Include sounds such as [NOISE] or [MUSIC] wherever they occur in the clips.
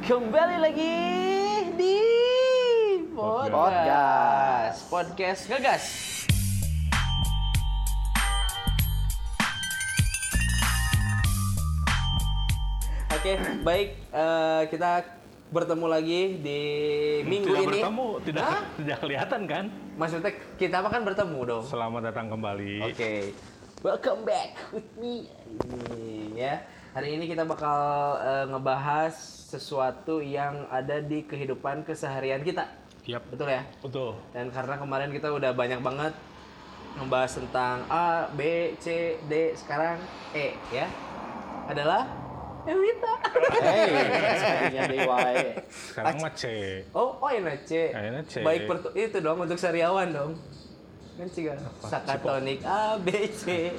Kembali lagi di podcast. Podcast, Podcast. Ngegas. Oke, baik eh, kita bertemu lagi di minggu tidak ini. bertemu, tidak Hah? tidak kelihatan kan? Maksudnya kita mah kan bertemu dong. Selamat datang kembali. Oke, welcome back with me. Ini, Ya, hari ini kita bakal eh, ngebahas sesuatu yang ada di kehidupan keseharian kita, Yap, betul ya? betul. Dan karena kemarin kita udah banyak banget membahas tentang A, B, C, D, sekarang E, ya, adalah Evita. [LAUGHS] Hey, sepertinya DIY. Sekarang mah C. Oh, oh ini C. Ini C. Baik pertu- itu dong untuk sariawan dong. Kan ciga sakatonik A B C.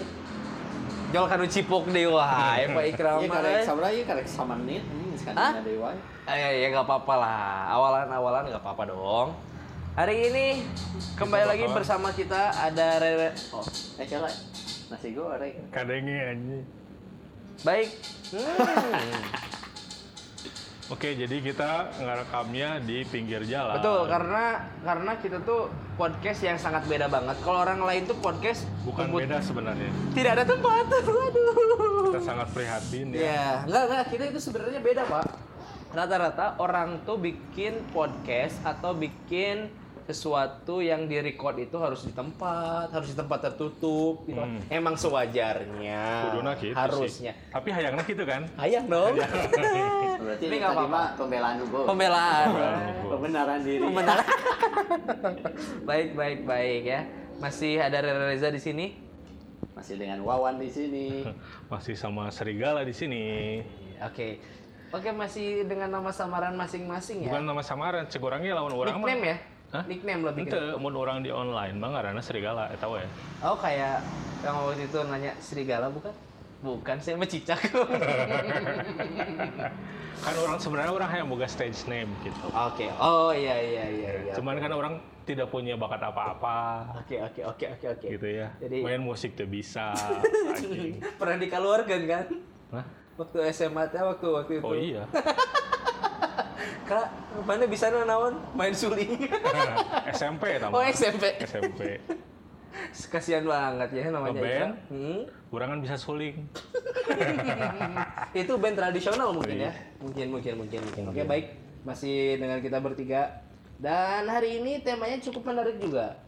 Jol kanu cipok deh wah, Pak Ikram. [LAUGHS] Iya karek mah. sabra iya karek Hmm, samanit ini eh. Hah? sekarang DIY. Ah, Ya ya nggak apa-apa lah. Awalan-awalan nggak apa-apa dong. Hari ini kembali lagi bakalan- bersama kita ada Rere. Oh, eh celak. Nasi goreng. Kadangnya anjing. Baik. Hmm. Oke, jadi kita ngerekamnya di pinggir jalan. Betul, karena karena kita tuh podcast yang sangat beda banget. Kalau orang lain tuh podcast bukan ngebut- beda sebenarnya. tidak ada tempat. [LAUGHS] Waduh. Kita sangat prihatin ya. Iya, enggak enggak kita itu sebenarnya beda, Pak. Rata-rata orang tuh bikin podcast atau bikin sesuatu yang direcord itu harus di tempat, harus di tempat tertutup gitu. Hmm. Emang sewajarnya. Kuduna gitu sih. harusnya. Tapi hayangnya gitu kan? Ayang dong. [LAUGHS] Berarti ini Ini nggak tadi apa-apa. mah pembelaan hukum. Pembelaan. Iya. Pembenaran diri. Benar. baik, baik, baik ya. Masih ada Rere Reza di sini. Masih dengan Wawan di sini. Masih sama serigala di sini. Iya, Oke. Oke, masih dengan nama samaran masing-masing ya. Bukan nama samaran, cegorangnya lawan orang mah. Nickname ya? Hah? Nickname lebih ke Ente, mun orang di online bang karena serigala eh, ya? eta we. Oh kayak yang waktu itu nanya serigala bukan? Bukan, saya mencicak. Kan orang sebenarnya orang yang boga stage name gitu. [LAUGHS] Oke, oh iya iya iya iya. Cuman kan orang tidak punya bakat apa-apa. Oke oke oke oke oke. gitu ya. Iya. Jadi- Iya. Main musik tuh bisa. anjing. [LAUGHS] Pernah dikeluarkan kan? Hah? Waktu SMA teh waktu waktu itu. Oh [LAUGHS] iya. Kak, mana bisa naon main suling? [LAUGHS] SMP tamu. oh SMP. SMP. Kasihan banget ya namanya. Ngeband? Ika. Hmm? Orang kan bisa suling. [LAUGHS] itu band tradisional mungkin Iya. ya mungkin mungkin mungkin mungkin oke baik masih dengan kita bertiga dan hari ini temanya cukup menarik juga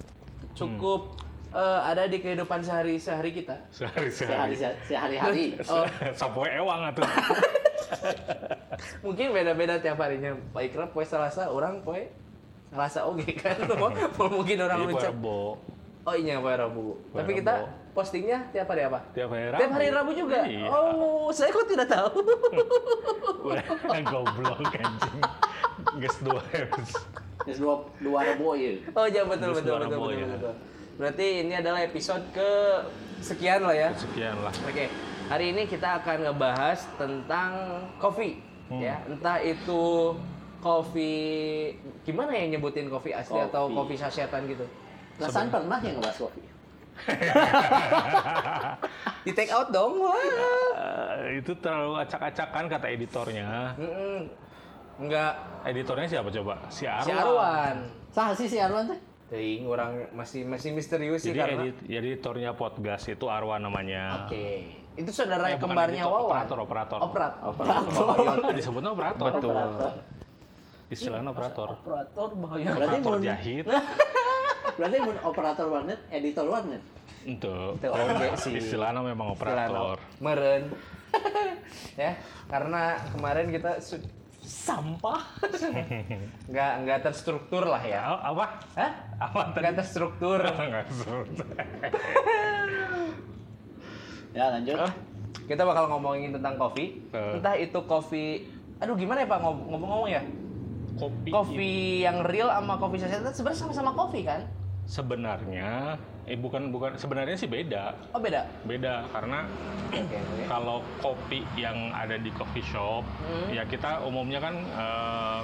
cukup eh, ada di kehidupan sehari sehari kita Sehari Sehari-sehari. sehari-hari. [LAUGHS] oh, Sapoe ewang atuh. mungkin beda beda tiap harinya pak Ikram poe selasa orang poe selasa oke [LAUGHS] kan Mau mungkin orang Jadi mencap Rebo. oh iya poe rabu Poe tapi kita Iya, Rabu. postingnya tiap hari apa Tiap hari Rabu. tiap hari rabu juga Iya. oh saya kok tidak tahu [LAUGHS] Udah goblok anjing. Guys dua episode. Terus dua dua rebo ieu. Oh iya betul Terus betul suara betul, boy, betul, ya. betul. Berarti ini adalah episode ke sekian lah ya. Sekian lah. Oke, hari ini kita akan ngebahas tentang kopi Hmm. ya. Entah itu kopi gimana ya nyebutin kopi asli Kopi. atau kopi sasetan gitu. Perasaan pernah yang ngebahas kopi. Di take out dong. Wah. Eh, itu terlalu acak-acakan kata editornya. Mm-mm. Enggak Editornya siapa coba? Si Arwan. si Arwan. Sah sih si Arwan teh. Ting, orang masih masih misterius sih Jadi karena. edit, editornya Podcast itu Arwan namanya. Oke. Itu saudara Eh, bukan kembarnya editor, Wawan. operator, operator. Operat. Operator. Iya, kan Disebutnya operator. Betul. Istilahnya operator. Operator bahaya. Berarti Operator mun jahit. Nah. berarti mun operator warnet, editor warnet. Untuk Itu oge sih. istilahnya memang operator. Celana meren [LAUGHS] ya karena kemarin kita su- sampah [LAUGHS] nggak nggak terstruktur lah ya Apa? Apa? Hah? Apa tadi? nggak terstruktur Nggak sebut. Ya lanjut. Ah, kita bakal ngomongin tentang kopi Eh. entah itu kopi aduh gimana ya pak ngob- ngomong-ngomong ya Kopi. kopi yang real sama kopi sasetan sebenarnya sama-sama kopi kan Sebenarnya, eh bukan bukan. Sebenarnya sih beda, oh beda beda karena oke oke kalau kopi yang ada di coffee shop, Hmm. ya kita umumnya kan eh,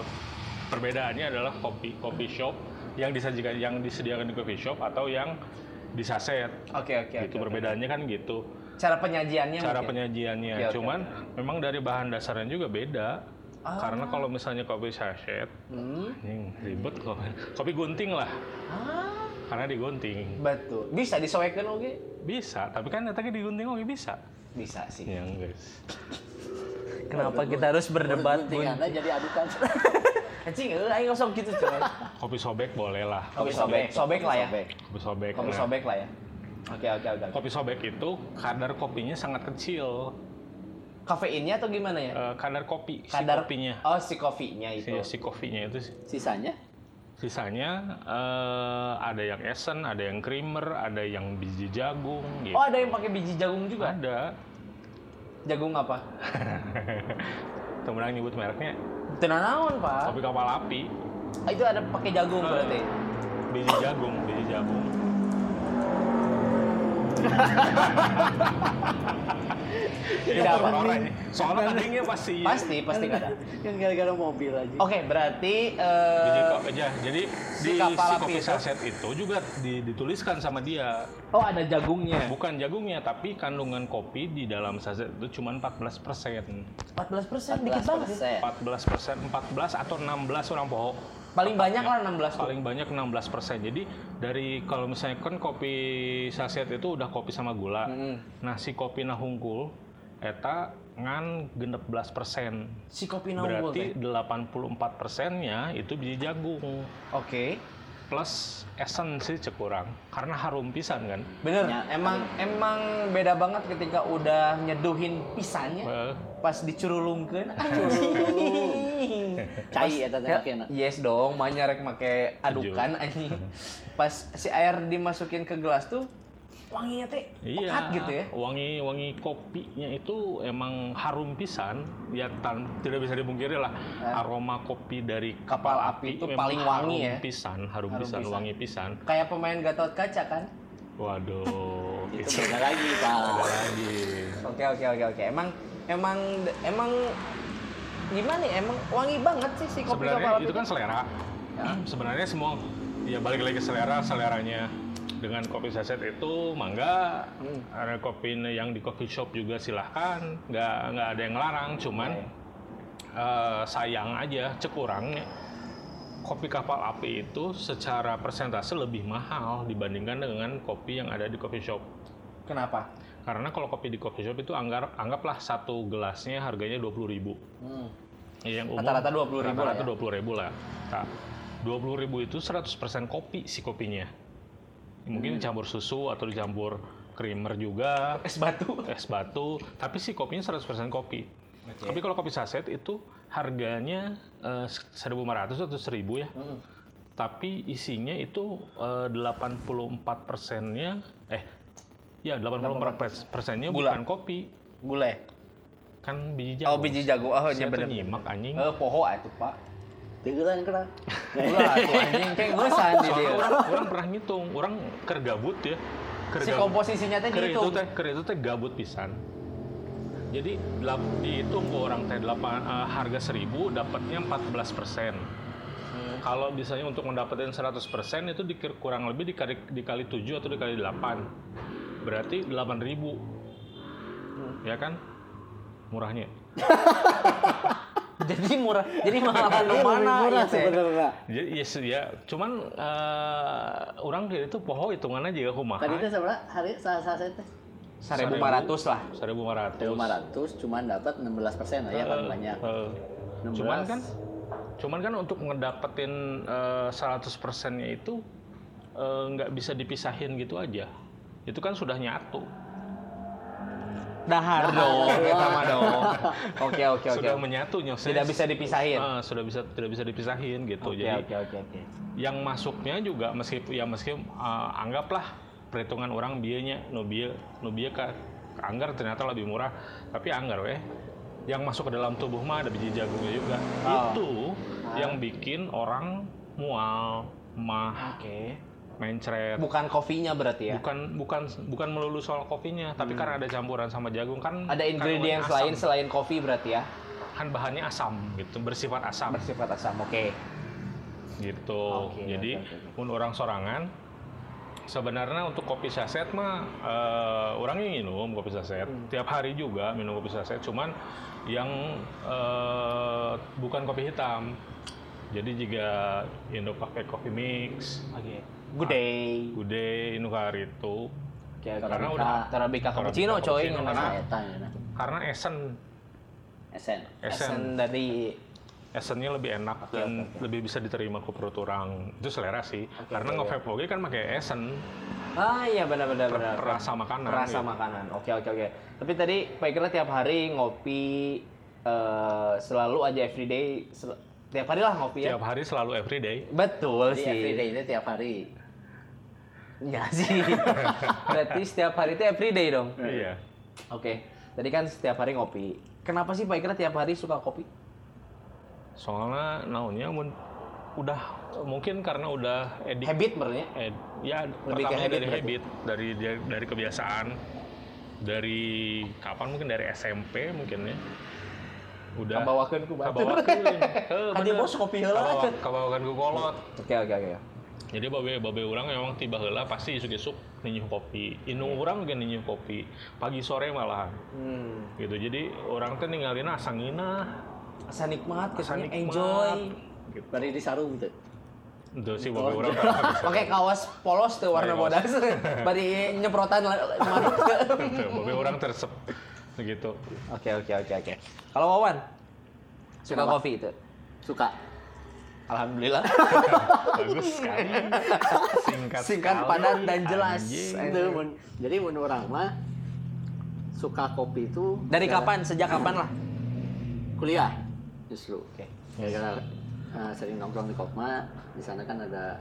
perbedaannya adalah kopi coffee shop yang disajikan yang disediakan di coffee shop atau yang disaset. oke oke gitu oke. perbedaannya kan gitu. cara penyajiannya Cara mungkin. penyajiannya. Oke, oke, Cuman memang dari bahan dasarnya juga beda. Ah. Karena kalau misalnya kopi sachet, Hmm. anjing ribet kok. Kopi gunting lah, Ah, karena digunting. betul. Bisa disoekan oke? Bisa, tapi kan nanti digunting oke bisa. Ya, Bisa sih. Yang guys. Kenapa kita harus berdebat? Gunting Anda jadi adukan. Anjing, eh, ayo sok gitu coy. Kopi sobek boleh lah. Kopi sobek, sobek lah ya. Kopi sobek. Kopi Nah, sobek lah ya. Oke oke oke. kopi sobek itu kadar kopinya sangat kecil. Kafeinnya atau gimana ya? Eh, kadar kopi, si Kadar kopinya. Oh, si kopinya Si, itu. si kopinya itu sih. Sisanya? Sisanya eh, ada yang esen, ada yang creamer, ada yang biji jagung gitu. Oh, iya. ada yang pakai biji jagung juga. ada. [LAUGHS] Jagung apa? Temen yang nyebut mereknya. Tenan naon, Pak? Kopi kapal api, Ah, Itu ada pakai jagung Eh. berarti. biji jagung, biji jagung. [LAUGHS] Ini Tidak orang apa. orang ini. Soalnya kadangnya pasti. Pasti, pasti nggak ada. Oh, Yang Kan gara-gara mobil aja. Oke, berarti Biji eh ko- aja. Jadi si di si kapal api kopi itu- saset itu juga di- dituliskan sama dia. oh ada jagungnya. Bukan jagungnya, tapi kandungan kopi di dalam saset itu cuma 14 persen. 14%, dikit banget. ya. 14 persen, 14 atau 16 orang poho. Paling banyak lah 16 tuh. Paling banyak 16 persen. Jadi dari kalau misalnya kan kopi saset itu udah kopi sama gula. Mm-mm. Nah si kopi nahungkul, eta ngan 16 persen. Si kopi naunggul. Berarti teh. 84 persennya itu biji jagung. Oke. Plus esen sih cek kurang. Karena harum pisan kan. Bener, Ya. emang emang beda banget ketika udah nyeduhin pisannya Well, pas [LAUGHS] dicurulungkeun. Cai eta teh Ya, makeuna. Yes dong, mah nyarek make adukan [LAUGHS] anjing. Pas si air dimasukin ke gelas tuh wanginya teh Iya, pekat gitu ya. wangi wangi kopinya itu emang harum pisan, ya tan- tidak bisa dipungkiri lah aroma kopi dari Eh. kapal, Kapal api api itu memang paling wangi harum ya. pisan, harum, Harum pisan, pisan. wangi pisan. Kayak pemain Gatot Kaca kan? Waduh, Itu Gitu. itu beda lagi, Pak. ada lagi. Oke oke oke oke. Emang emang emang gimana ya? Emang wangi banget sih si kopi Sebenarnya kapal api itu kan selera. [CLEARS THROAT] Sebenarnya semua ya balik lagi ke selera, seleranya dengan kopi saset itu mangga Hmm. ada kopi yang di coffee shop juga silahkan nggak nggak ada yang larang cuman eh, sayang aja cekurangnya kopi kapal api itu secara persentase lebih mahal dibandingkan dengan kopi yang ada di coffee shop Kenapa? karena kalau kopi di coffee shop itu anggap anggaplah satu gelasnya harganya dua puluh ribu Iya, Hmm. yang umum Rata-rata 20.000 lah rata-rata ya. 20.000 lah Nah, dua puluh ribu itu 100% kopi si kopinya mungkin dicampur susu atau dicampur creamer juga Hmm. Es batu. es batu tapi si kopinya 100% kopi tapi kalau kopi saset itu harganya eh, 1.500 atau 1.000 ya Hmm. tapi isinya itu eh, 84 persennya eh ya 84 persennya Gula. bukan kopi Gulai. kan biji Oh jagung biji jagung. Oh iya Saya tuh bener. nyimak anjing Eh poho atuh, [LAUGHS] Pak. Teueulan kerang. Ulah atuh anjing kayak gesan di Soalnya dieu. orang, orang pernah ngitung, orang ker gabut ya. Ker Si gabut. komposisinya teh Ker itu dihitung. teh, ker itu teh gabut pisan. Jadi delap- dihitung ke orang teh delapan- eh, harga 1000 dapatnya 14 Hmm. Kalau misalnya untuk mendapatkan 100 itu dikir, kurang lebih dikali, dikali 7 atau dikali 8. Berarti 8000 Hmm. Ya kan? Murahnya. Jadi murah. Jadi mahal Iya, Ini mana lebih murah ya teh? sebenarnya. Jadi yes, ya, cuman eh, orang dia itu poho hitungan aja kumaha. Tadi teh sebenarnya hari sasa teh 1500 lah. 1500. 500 cuman dapat 16 persen Iya, Eh. lah ya paling banyak. Heeh. 16. Cuman kan cuman kan untuk ngedapetin eh, 100 persennya itu eh, nggak bisa dipisahin gitu aja. Itu kan sudah nyatu. Dahar [LAUGHS] dong, kita mah dong. Oke oke oke. sudah menyatu nyosnya. Tidak bisa dipisahin. Eh, sudah bisa tidak bisa dipisahin gitu. Oke Jadi oke oke oke. yang masuknya juga meskipun ya meskipun eh, anggaplah perhitungan orang biayanya nu bieu nu bieu ka ka anggar ternyata lebih murah tapi anggar weh yang masuk ke dalam tubuh mah ada biji jagungnya juga Oh. itu yang bikin orang mual mah Oke. mencret Bukan kopinya berarti ya. bukan bukan bukan melulu soal kopinya tapi karena ada campuran sama jagung kan Hmm. Ada kan ingredients asam. lain selain kopi berarti ya. kan bahannya asam gitu bersifat asam Bersifat asam. Oke. gitu. Oke, Jadi oke, oke. mun orang sorangan sebenarnya untuk kopi saset mah eh, orang yang minum Hmm. kopi saset tiap hari juga minum kopi saset cuman yang eh, bukan kopi hitam. Jadi jika Indo pakai kopi mix, Oke. Good day. gude Indo Karito, Oke, Karena Karena udah- udah Arabica cappuccino Arabica coy. cappuccino, nggak masalah. karena- Eta ya nah. karena esen SN. esen Esen dari esennya lebih enak dan lebih bisa diterima ke perut orang itu selera sih Oke, karena oke, nge-vape lagi kan pakai esen Ah iya benar-benar benar. perasa makanan Rasa gitu. makanan. Oke oke oke. Tapi tadi Pikernya tiap hari ngopi eh, selalu aja everyday sel- tiap hari lah ngopi ya. tiap hari selalu everyday Betul Jadi sih. everyday ini tiap hari. Iya sih. Berarti setiap hari itu everyday dong. iya Oke. Tadi kan setiap hari ngopi. Kenapa sih Piker tiap hari suka kopi? soalnya naonnya mun- udah mungkin karena udah edik Habit sebenarnya. eh, ya Lebih ke habit pertama dari berarti. habit dari dari- dari kebiasaan dari kapan mungkin dari SMP mungkin ya udah Kabawakeun ku batur. kabawa [LAUGHS] Ka dia bos kopi heula. kabawakan ku kolot Oke oke oke. Jadi babe babe orang memang tiba heula pasti isuk-isuk ninyu kopi. Indung Iya. orang juga ninyu kopi. Pagi sore malahan. Hmm. Gitu. Jadi orang teh ninggalin asangina, Asa nikmat, asa kesannya nikmat. enjoy. Gitu. Bari di sarung gitu. Itu sih Oh, babe orang. iya. [LAUGHS] Pakai kaos polos tuh warna Pakai bodas. Bari nyemprotan la- manuk. Gitu. [LAUGHS] Babe orang tersep. Gitu. Oke oke oke oke. Kalau Wawan suka Kenapa? kopi itu? Suka. Alhamdulillah. Bagus sekali. Singkat, Singkat, sekali, padat, dan jelas. anjing. Itu mun- jadi menurut orang mah suka kopi itu Dari gara- kapan? Sejak kapan lah? Kuliah justru. Oke. Gara-gara uh, sering nongkrong di Kokma, di sana kan ada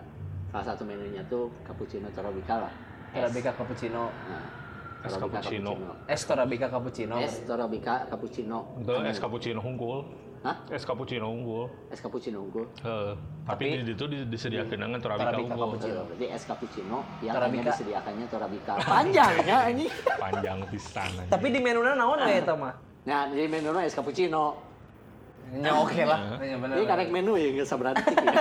salah satu menunya tuh cappuccino Torobika lah. Arabica cappuccino. Nah, Es Torobika cappuccino. Es Arabica cappuccino. Es Torobika cappuccino. Itu es cappuccino unggul. Hah? Es cappuccino unggul. Es cappuccino unggul. Heh. Tapi- tapi, di itu disediakan dengan Torabika Torabika unggul. cappuccino. Jadi Iya, es cappuccino yang Torabika. hanya disediakannya Torabika. [LAUGHS] Panjangnya ini. Panjang pisan. anjing. Tapi di menu naon we ah? eta mah? Nah, jadi menu es cappuccino. Ya oke lah. Ya benar. Ini karek menu ya nggak [LAUGHS] sabrantik ya.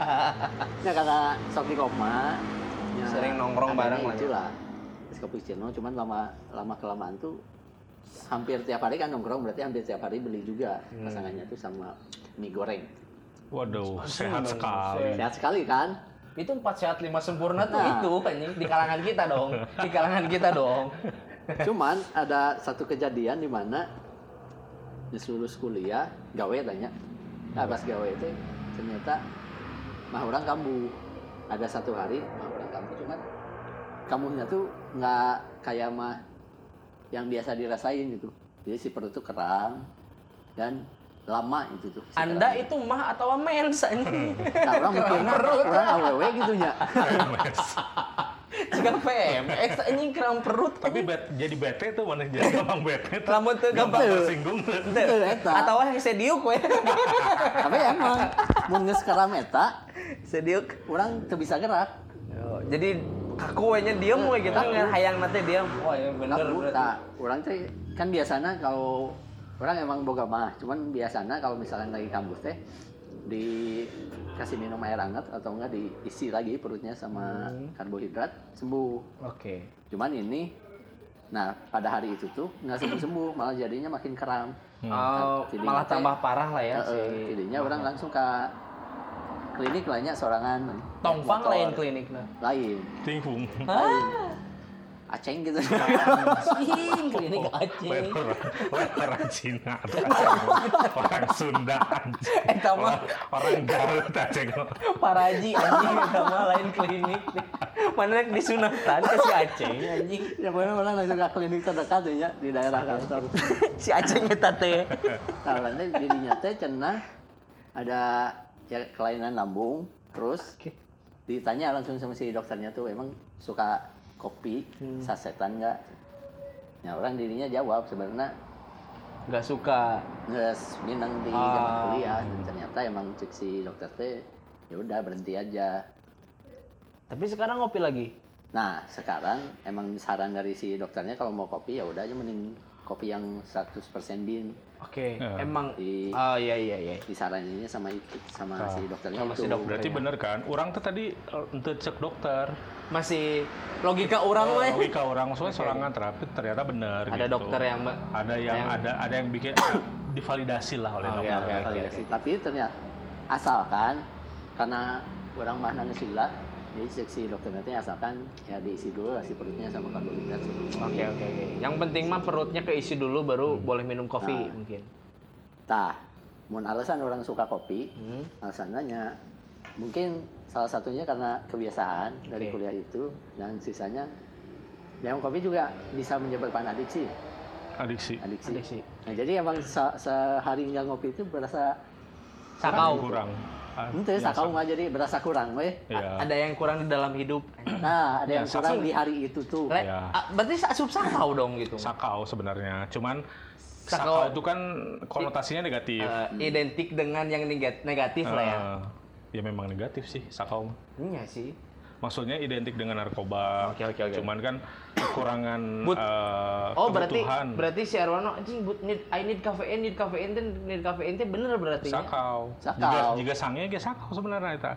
[LAUGHS] Nah, karena sok di Kokma, ya, Sering nongkrong adanya bareng lah itu ya. lah. Es cappuccino cuman lama lama kelamaan tuh hampir tiap hari kan nongkrong berarti hampir tiap hari beli juga Hmm. pasangannya tuh sama mie goreng. Waduh, sehat sekali. Sehat sekali kan? Itu empat sehat lima sempurna tuh Nah. itu anjing di kalangan kita dong. Di kalangan kita dong. [LAUGHS] Cuman ada satu kejadian di mana di lulus kuliah gawe tanya. Nah, pas gawe itu ternyata mah orang kambuh. Ada satu hari mah orang kambuh cuman kambuhnya tuh nggak kayak mah yang biasa dirasain gitu. Jadi si perut tuh keram dan lama itu tuh. si Anda keramnya. itu mah atau mens [LAUGHS] anjing. Nah, orang mikir keram perut. orang awewe gitu ya. Jika PMS anjing keram perut. Tapi bet- jadi bete tuh mana jadi gampang bete tuh. Lamun teu gampang gampang. tersinggung. tuh. Itu eta. Atau yang sediuk we. Tapi emang mun geus keram eta Sediuk. orang teu bisa gerak. Oh, jadi kaku we nya diem we gitu nggak hayang nanti diem. Oh ya bener Aku berarti. tak, orang teh kan biasanya kalau orang emang boga mah, cuman biasanya kalau misalnya lagi kampus teh dikasih minum air hangat atau enggak diisi lagi perutnya sama Hmm. karbohidrat sembuh. Oke. Cuman ini, nah pada hari itu tuh nggak sembuh sembuh, malah jadinya makin keram. Oh, Jadi malah teh- tambah parah lah ya si. Heeh, jadinya orang langsung ke klinik lainnya sorangan. Tongfang Motor. lain kliniknya. Lain. Tinggung. Hah? [LAUGHS] Aceng gitu. Anjing, klinik Lain anjing. orang, lain Oh, orang Cina [LAUGHS] tuh aceng. orang Sunda anjing. Eta mah. Orang- orang Garut aceng. Paraji anjing sama lain klinik. Mana rek disunatan ke si Aceng anjing. ya pokoknya orang langsung ke klinik terdekat tuh ya di daerah kantor. Si Aceng eta teh. Tawarannya jadinya teh cenah ada ya kelainan lambung terus Oke. ditanya langsung sama si dokternya tuh emang suka kopi Hmm. sasetan nggak? Nah orang dirinya jawab sebenarnya Gak suka. nges minang di Ah. zaman kuliah dan ternyata emang cek si dokter teh ya udah berhenti aja. Tapi sekarang ngopi lagi. Nah sekarang emang saran dari si dokternya kalau mau kopi ya udah aja mending kopi yang 100% bin Oke, Ya. emang Di- Oh iya iya iya. disaraninnya sama itu sama Ah, si dokternya sama si itu. dokter. Berarti bener kan? Orang tuh tadi eh, ente cek dokter. Masih logika orang mah. ya. Logika orang soalnya sorangan terapi ternyata bener Ada gitu. dokter yang me- ada yang, yang- ada ada yang bikin eh, divalidasi lah oleh Oke, dokter. oke, oke. validasi. Tapi ternyata asalkan karena orang mana ngesila jadi seksi dokter nanti asalkan ya diisi dulu lah si perutnya sama karbohidrat sebelum Oke oke oke. Yang penting mah perutnya keisi dulu baru Hmm. boleh minum kopi Nah. mungkin. Tah, mun alasan orang suka kopi, Hmm. alasannya mungkin salah satunya karena kebiasaan dari Oke. kuliah itu dan sisanya minum kopi juga bisa menyebabkan adiksi, Adiksi. adiksi. Ada sih. Nah, jadi emang se- sehari nggak ngopi itu berasa Sakau. Kan Kurang. Ah, ente ya, sakau nggak jadi berasa kurang, weh. sak- Iya. Ada yang kurang di dalam hidup. Nah, ada yang Ya, sakau. kurang di hari itu tuh. Le, Iya. ah, berarti asup sakau dong gitu. Sakau sebenarnya. Cuman Sakau. sakau itu kan konotasinya negatif. Eh, identik dengan yang negat- negatif lah ya. Eh, ya memang negatif sih sakau. mah. Iya sih. Maksudnya identik dengan narkoba. Oke, oke, oke. Cuman kan kekurangan But- eh, Oh berarti kebutuhan. berarti si Arwano anjing but need I need kafein need kafein teh need kafein teh bener berarti. ya. nya. sakau. Sakau. Jika, jika sangnya ge sakau sebenarnya eta.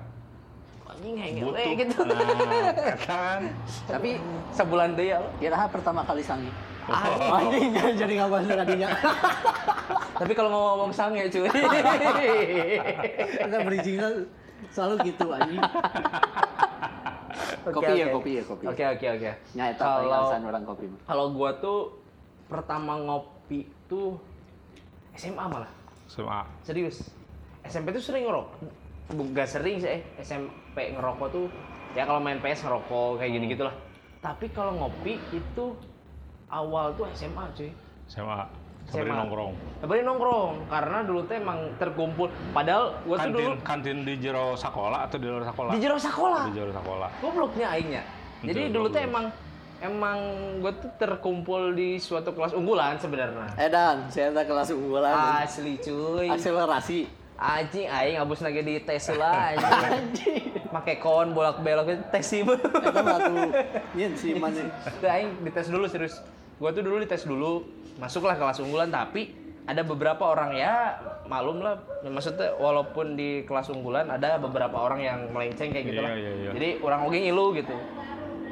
Anjing hengel Butuh. we Eh, gitu. [LAUGHS] Nah, kan. Tapi Sebulan [LAUGHS] deh ya. Ah, kira pertama kali sangi. Anjing [LAUGHS] jadi ngomong tadinya. [LAUGHS] Tapi kalau ngomong sang ya cuy. Enggak bridgingnya selalu gitu anjing. kopi ya, kopi ya, kopi. Oke oke oke. Nah, itu paling alasan Kalau orang kopi. mah. kalau gua tuh pertama ngopi tuh SMA malah. SMA. Serius. SMP tuh sering ngerokok. Bu- Gak sering sih, eh. SMP ngerokok tuh ya kalau main PS ngerokok Hmm. kayak gini gitulah. Tapi kalau ngopi itu awal tuh SMA cuy. SMA. SMA. Sambil nongkrong. Tapi nongkrong karena dulu tuh emang terkumpul. Padahal gua tuh dulu Kantin, kantin di jero sekolah atau di luar sekolah? di jero sekolah. Di jero sekolah. gobloknya aingnya. Jadi Betul, dulu tuh goblok. emang emang gue tuh terkumpul di suatu kelas unggulan sebenarnya. Eh Dan, saya ada kelas unggulan. Asli cuy. Akselerasi. Anjing aing abus lagi di tes lah anjing. [LAUGHS] Pakai kon bolak belok tes sih. Bu. Itu satu nyin si mana. Tuh, aing dites dulu serius. Gue tuh dulu dites dulu masuklah kelas unggulan tapi ada beberapa orang ya malum lah maksudnya walaupun di kelas unggulan ada beberapa orang yang melenceng kayak gitu Iya, lah. iya, iya. Jadi orang oge ngilu gitu.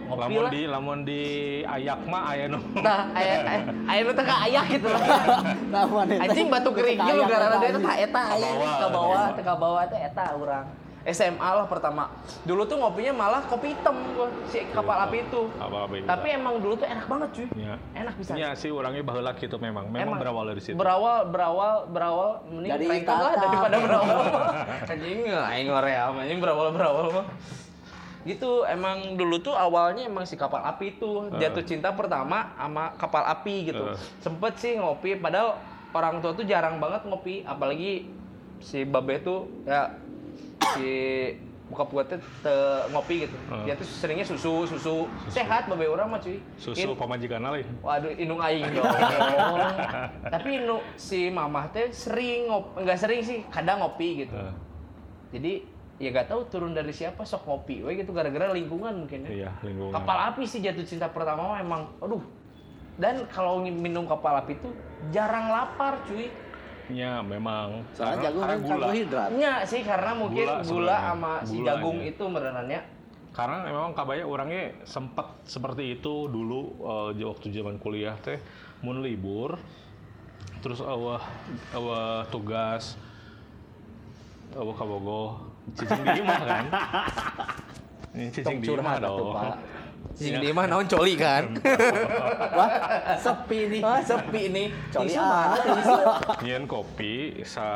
Ngopi Lamun lah. di lamun di ayak mah aya nu. Nah, ayah ayah itu tengah ayah gitu lah. [LAUGHS] Nah, mana itu? Anjing batu kering Kayak lu gara-gara dia anjing. teh eta aya Ke bawah, ke bawah, ke bawah. teh ke bawah teh eta urang. SMA lah pertama. Dulu tuh ngopinya malah kopi hitam gua si kapal api itu. Kapal api itu. Tapi emang dulu tuh enak banget cuy. Iya. Enak bisa. Iya sih orangnya baheula gitu memang. Memang berawal dari situ. Berawal berawal berawal mending Dari prengkang lah tatap. daripada berawal. [LAUGHS] Anjing aing ngorea mah, anjing berawal berawal mah. Gitu emang dulu tuh awalnya emang si kapal api itu jatuh cinta pertama sama kapal api gitu. Eh. Sempet sih ngopi padahal orang tua tuh jarang banget ngopi apalagi si babe tuh ya si buka puasa ngopi gitu. Eh. Dia tuh seringnya susu, susu, sehat babe orang mah cuy. Gitu. Ini- Susu pamajikan lain. Waduh, inung aing [LAUGHS] dong. Tapi inu, si mamah teh sering ngop, nggak sering sih, kadang ngopi gitu. Eh, Jadi ya gak tahu turun dari siapa sok ngopi, we gitu gara-gara lingkungan mungkin ya. Iya, lingkungan. Kapal api sih jatuh cinta pertama mah emang, aduh. Dan kalau ngi- minum kapal api tuh jarang lapar cuy. Ya, memang. Soalnya Karena- jagung kan karena gula. [LAUGHS] karbohidrat. Nya sih karena mungkin Gula gula, sebenarnya. sama si Gula jagung aja. itu merenannya. Karena memang kabaya orangnya sempat seperti itu dulu eh, di waktu zaman kuliah teh mun libur terus awah awah tugas awah kabogoh cicing di imah [LAUGHS] kan. Ini cicing di curhat imah atuh, dong. [LAUGHS] Pak. Sing Iya. di mana naon coli kan? Wah, sepi nih. Wah, [LAUGHS] sepi nih. Coli Coli ah. [LAUGHS] Nyian kopi sa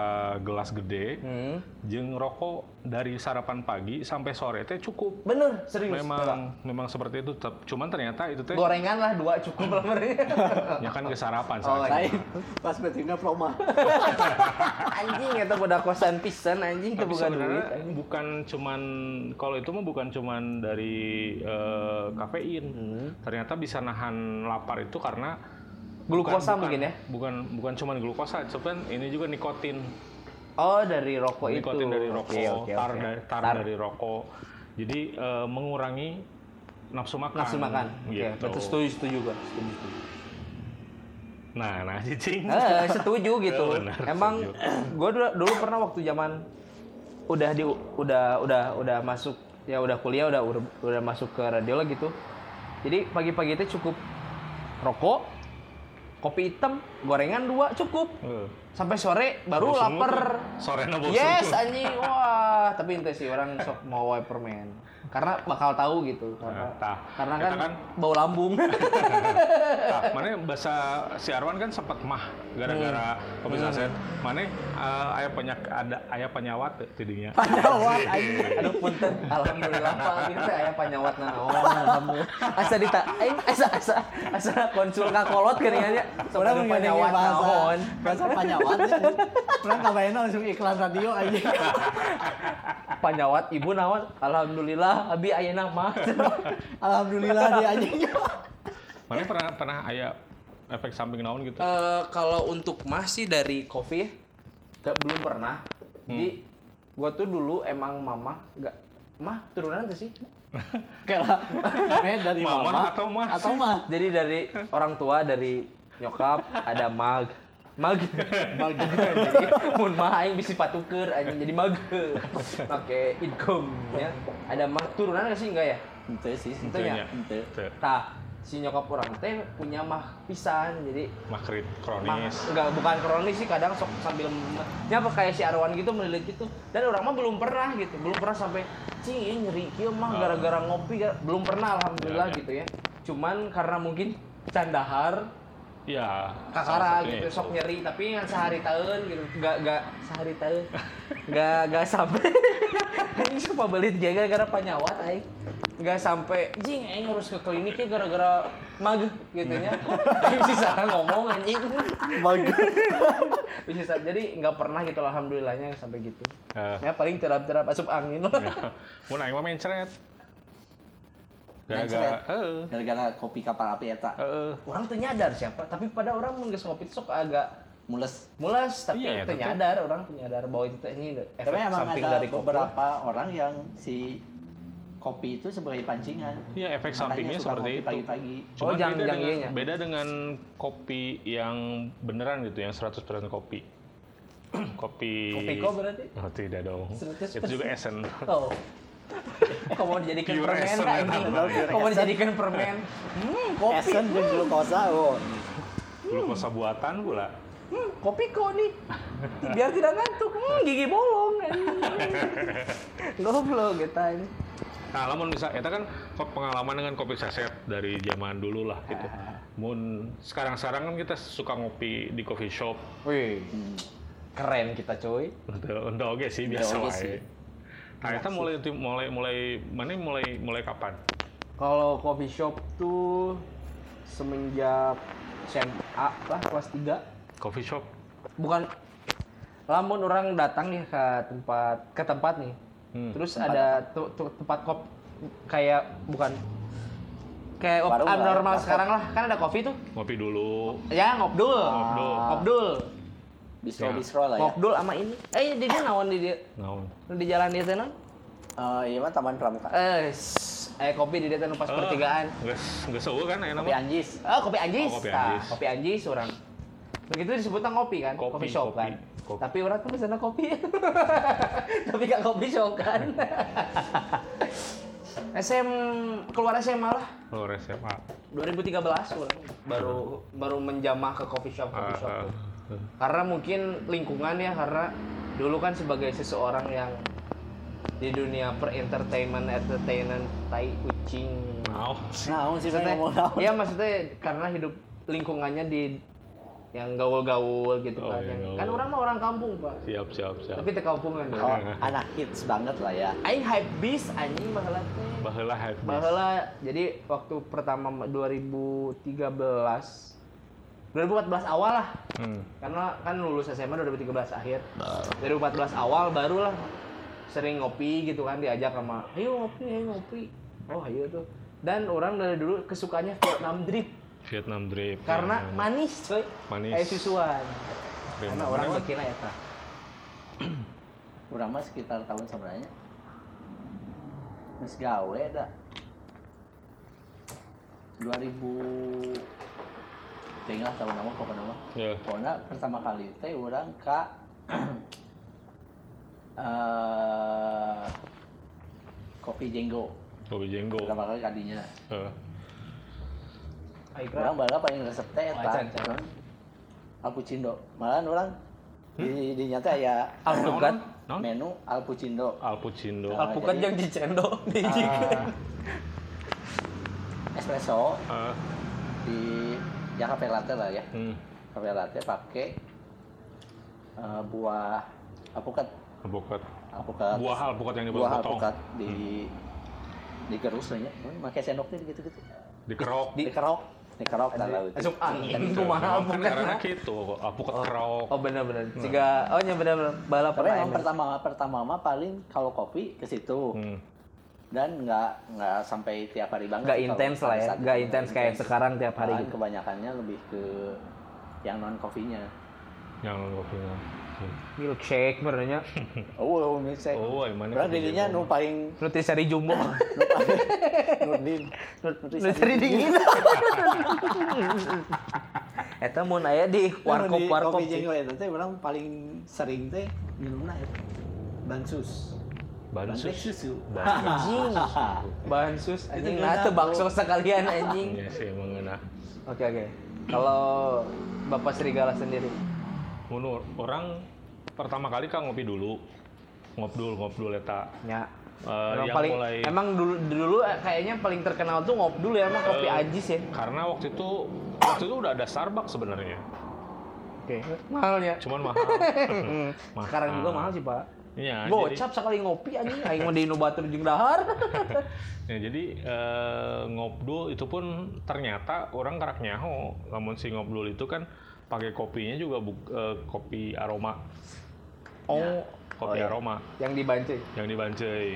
gelas gede Hmm. jeung rokok dari sarapan pagi sampai sore teh cukup. Bener, serius. Memang memang seperti itu. Tep- Cuman ternyata itu teh gorengan lah dua cukup lah mereka ya kan ke sarapan Oh, saat Lain pas betina [LAUGHS] promo. [LAUGHS] anjing itu udah kosan pisan anjing itu Tapi bukan sebenarnya duit anjing. bukan cuman kalau itu mah bukan cuman dari eh, kafein. Hmm. Ternyata bisa nahan lapar itu karena Glukosa mungkin ya? Bukan bukan cuman glukosa, cuman ini juga nikotin. oh dari rokok itu nikotin dari rokok, Oke, oke, tar, oke. dari, tar Tar. dari rokok. Jadi eh, mengurangi nafsu makan. nafsu makan oke Gitu. betul setuju setuju gua setuju, setuju. Nah, nah [LAUGHS] cicing. Eh, setuju gitu Eh, [LAUGHS] benar, emang gue dulu, dulu pernah waktu zaman udah di udah udah udah masuk ya udah kuliah udah udah, udah masuk ke radio lah gitu jadi pagi-pagi itu cukup rokok kopi hitam, gorengan dua cukup. Eh, Sampai sore baru bosen lu lapar. tuh. Sore na bosen Yes, tuh. anjing. Wah, tapi ente sih orang sok mau wae permen. Karena bakal tahu gitu. Karena, Nah, tah. karena Eta kan, kan. bau [LAUGHS] lambung. Nah, mana bahasa si Arwan kan sempat mah gara-gara pemisah set. Mana eh, aya penyak ada aya penyawat teh tidinya. Panyawat anjing. Aduh punten. Alhamdulillah [LAUGHS] Pak, ieu teh aya panyawat Oh, alhamdulillah. Asa dita, aing asa asa eh, Asa konsul ka kolot keuningannya. orang Urang mengenai panyawat bahasa naon. Bahasa panyawan ya. orang kabayana langsung iklan radio aja [LAUGHS] Panyawat ibu naon? Alhamdulillah abi ayeuna mah. [LAUGHS] alhamdulillah dia aja [LAUGHS] Mana pernah pernah aya efek samping naon gitu. Eh, kalau untuk masih dari kopi ya, nggak- belum pernah. Jadi gua tuh dulu emang mama nggak mah turunan tuh sih. kalah eh dari Mama mama atau mah? atau mah Jadi dari orang tua dari nyokap ada mag mag mag [LAUGHS] jadi mun mah aing bisi patuker anjing jadi mag pakai income ya ada mag turunan nggak sih enggak ya Ente sih. Ente ya? Ente. Teu. tah si nyokap orang teh punya mah pisan jadi Makrit Mang- kronis. Enggak, bukan kronis sih kadang sok sambil nya kayak si Arwan gitu melilit gitu. Dan orang mah belum pernah gitu, belum pernah sampai cing ieu nyeri kieu mah Ah. gara-gara ngopi gara-" belum pernah alhamdulillah Ya, ya. gitu ya. Cuman karena mungkin candahar Ya. salah kakara satunya gitu itu. sok nyeri tapi ngan sehari tahun gitu nggak nggak sehari tahun nggak nggak sampai [LAUGHS] ini cuma belit jaga gara penyawat aing nggak sampai jing aing harus ke kliniknya gara-gara mag gitu [LAUGHS] nya Aing sisa ngomong anjing mag [LAUGHS] bisa jadi nggak pernah gitu alhamdulillahnya sampai gitu Eh, ya iya. paling terap-terap asup angin lah Mun aing mah mencret. Mencret? Gara-gara eh, heeh. Gara-gara kopi kapal api eta Heeh. orang tuh nyadar siapa tapi pada orang mungkin ngopi tuh sok agak mules. mulas tapi Iya, teu tetep. nyadar orang teu nyadar bahwa itu teh ini efek Tapi emang samping ada dari kopi beberapa orang yang si kopi itu sebagai pancingan. Iya, efek Makanya sampingnya suka seperti ngopi itu. Pagi-pagi. Oh, yang- beda, yang dengan, ianya. beda dengan kopi yang beneran gitu, yang 100% kopi. [CLEARS THROAT] kopi Kopiko berarti? Oh, tidak dong. 100%. Itu juga esen. [LAUGHS] Oh. Kok mau dijadikan Pure permen essence Kak, enak ini? banget ya. Kok mau dijadikan permen? Hmm, kopi. Esen jeung glukosa oh Glukosa buatan pula. Hmm, kopi kok nih. Biar tidak ngantuk. Hmm, gigi [LAUGHS] bolong. Goblok kita ini. Nah, lamun bisa, itu kan ko- pengalaman dengan kopi saset dari zaman dulu lah gitu. Mun sekarang-sekarang kan kita suka ngopi di coffee shop. Wih, Hmm. keren kita coy. Untuk untuk oge sih biasa oge wae. sih. Nah, itu mulai mulai mulai mana mulai mulai kapan? Kalau coffee shop tuh semenjak SMA lah kelas 3 Coffee shop. bukan lamun orang datang nih ke tempat ke tempat nih Hmm. terus ada tu- tu- tempat kop kayak bukan kayak op- Warung lah, abnormal warkop. sekarang lah kan ada kopi tuh Ngopi dulu. ya ngobdul Ngobdul. ngobdul Bistro Ya. bistro lah ya. ngobdul sama ini eh di dia naon di dia Naon? di jalan dia tenan Eh, iya mah Taman Pramuka. eh s- eh kopi di dia teh nu Oh. pas pertigaan Ah, Nggak nggak sewa kan enak Kopi Anjis. Oh, kopi anjis. Oh, kopi Nah, Anjis. kopi anjis orang. Begitu disebutnya ngopi kan, Kopi, kopi, shop kopi, kan. kopi. Tapi orang tuh sana kopi. [LAUGHS] Tapi gak kopi shop kan. [LAUGHS] SM keluar SMA lah Oh, SMA. 2013 orang baru baru menjamah ke coffee shop coffee shop. Ah, tuh. ah. Karena mungkin lingkungannya karena dulu kan sebagai seseorang yang di dunia per entertainment entertainment tai kucing Naon sih? Nah, sih maksudnya ngomong naon. iya maksudnya karena hidup lingkungannya di yang gaul-gaul gitu Oh, kan iya, yang- gaul. Iya. kan orang mah orang kampung pak Siap, siap, siap. tapi di kampungan Oh, ya anak hits banget lah ya. aing hype beast anjing baheula teh Baheula hype beast. baheula jadi waktu pertama 2013 2014 awal lah Hmm. karena kan lulus SMA 2013 akhir 2014 awal barulah sering ngopi gitu kan diajak sama ayo ngopi ayo ngopi oh ayo tuh dan orang dari dulu kesukaannya Vietnam drip Vietnam drip. karena Ya, manis coy Manis. kayak susuan karena Vietnam orang drip. makin eta Urang mah sekitar tahun sebenarnya. Mas gawe dah. 2000 tinggal tahun nama kok nama. Ya. Pokoknya pertama kali teh orang ka [CLEARS THROAT] eh, kopi jenggo Oh. Kopi jenggo. pertama kali kadinya Eh, Aikra. Orang bala paling resep teh Oh, eta. can, can. Hmm? Alpucindo. Malahan orang di di nyata ya Alpukat? Naon? menu Alpucindo. Alpucindo. Ah. Alpukat jadi- yang dicendok di Ah, espresso Eh, di ya cafe latte lah ya. hmm, Cafe latte pakai eh, buah alpukat alpukat. alpukat Buah alpukat yang Hmm. buah dipotong. alpukat di digerus aja. ya. Pakai sendok deh gitu-gitu. [LAUGHS] Dikerok. Dikerok, dikerok kalau itu. Asup angin Gitu. kumaha Kan alpukat. [LAUGHS] karena Nah. gitu, alpukat kerok. Oh benar-benar. Jika oh nya benar-benar bala Tapi pernah ya? emang emang. ya, pertama pertama mah paling kalau kopi ke situ. Hmm. dan nggak nggak sampai tiap hari banget Nggak Kalau intens lah pada ya, saat nggak itu intens kayak sekarang tiap hari Malahan gitu. kebanyakannya lebih ke yang non kopinya Yang Hmm. kopinya. Milkshake [LAUGHS] merenya. oh misalnya Hmm. Oh, emangnya orang kopi dirinya jago. nu paling Nutrisari jumbo. nu paling nurdin Iya, Nutrisari dingin. [LAUGHS] Eta mun aya di warkop warkop. kopi jenggo itu teh orang paling sering teh minumna ya? itu bansus Bansus. Bansus susu. Bansus. [LAUGHS] Anjing. Bansus anjing Itu nah enak, teu bakso bro. sekalian anjing. Iya sih mengenah. Oke oke. Kalau Bapak Serigala sendiri. Menurut orang pertama kali kan ngopi dulu. Ngobdul, ngobdul eta. Ya. Eh, Emang yang paling mulai emang dulu dulu eh, kayaknya paling terkenal tuh ngobdul ya emang kopi Eh, ajis ya. karena waktu itu waktu itu udah ada Starbucks sebenarnya. Oke. Mahalnya. [LAUGHS] Cuman mahal. ya? [LAUGHS] Sekarang juga mahal sih, Pak. Iya. jadi- Gocap sekali ngopi anjing aing mah di Innovator jeung [LAUGHS] dahar. Ya, jadi eh, ngobdul itu pun ternyata orang kerak nyaho. Namun si ngobdul itu kan pakai kopinya juga bu- eh, kopi aroma, Ya, Oh, kopi aroma yang dibancing. yang dibancai.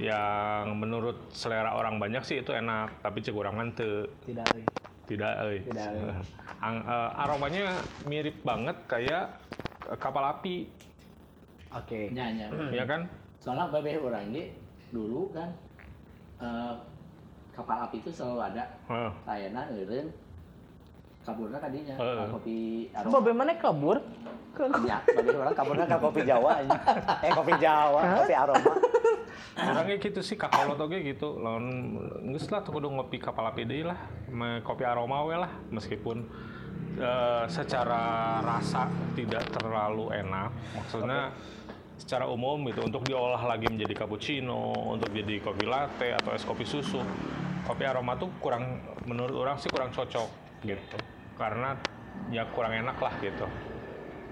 Yang menurut selera orang banyak sih itu enak, tapi cek orang teu. Tidak. euy. Tidak, euy. Tidak, euy. [LAUGHS] Ang- eh, aromanya mirip banget kayak eh, kapal api, Oke. Nyanya. ya kan? Soalnya babeh orang ge dulu kan eh, kapal api itu selalu ada Heeh. Sayana eureun kaburna kadinya Eh. Heeh. kopi Coba aroma. bagaimana kabur? Ke Ya, babeh orang kaburna ka kopi Jawa ini. [LAUGHS] eh kopi Jawa kopi aroma Orangnya gitu sih, kakolot oge gitu. Lawan geus lah tuh kudu ngopi kapal api deui lah. Me- Kopi aroma we lah meskipun eh, secara rasa tidak terlalu enak. Maksudnya secara umum gitu untuk diolah lagi menjadi cappuccino, untuk jadi kopi latte atau es kopi susu. Kopi aroma tuh kurang menurut orang sih kurang cocok gitu. Karena ya kurang enak lah gitu.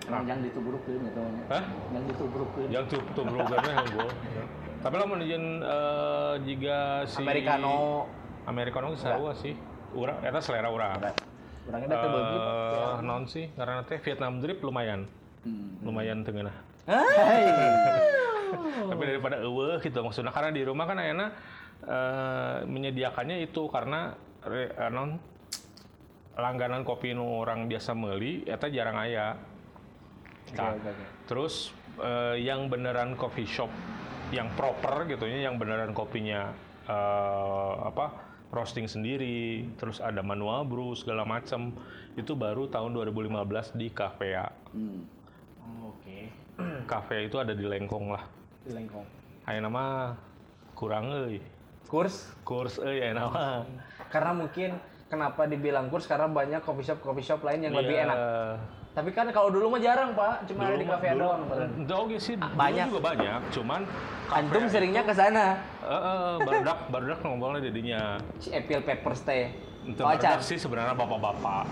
Emang yang dituburukeun eta mah. Hah? Yang dituburukeun. Yang tuh tuh Ya, programnya unggul. Tapi lah menunjukkan eh, jika si Americano. Americano seru sih. Urang eta selera urang. Orangnya udah tebel gitu. Eh non sih karena teh Vietnam drip lumayan. Hmm, Lumayan tengenah. Tapi daripada eueuh gitu maksudnya karena di rumah kan enak menyediakannya itu karena re- eh, non langganan kopi nu orang biasa meuli eta jarang aya. Tah. Terus eh, yang beneran coffee shop yang proper gitu ya, yang beneran kopinya eh, apa roasting sendiri, terus ada manual brew segala macam itu baru tahun 2015 di Kafea. Hmm. Oke. Hmm. Kafea itu ada di Lengkong lah. Di Lengkong. Ayo nama kurang euy. Kurs Kurs euy ayeuna mah. karena mungkin kenapa dibilang kurs karena banyak coffee shop coffee shop lain yang lebih Iya. enak. Tapi kan kalau dulu mah jarang, Pak. Cuma ada di mah- kafe doang. padahal. Dulu oge sih dulu banyak. juga banyak, cuman eh, Antum seringnya ke sana. Heeh, barudak barudak ngomongnya jadinya. Si Apple Papers teh. Itu Oh, barudak Chan. sih sebenarnya bapak-bapak.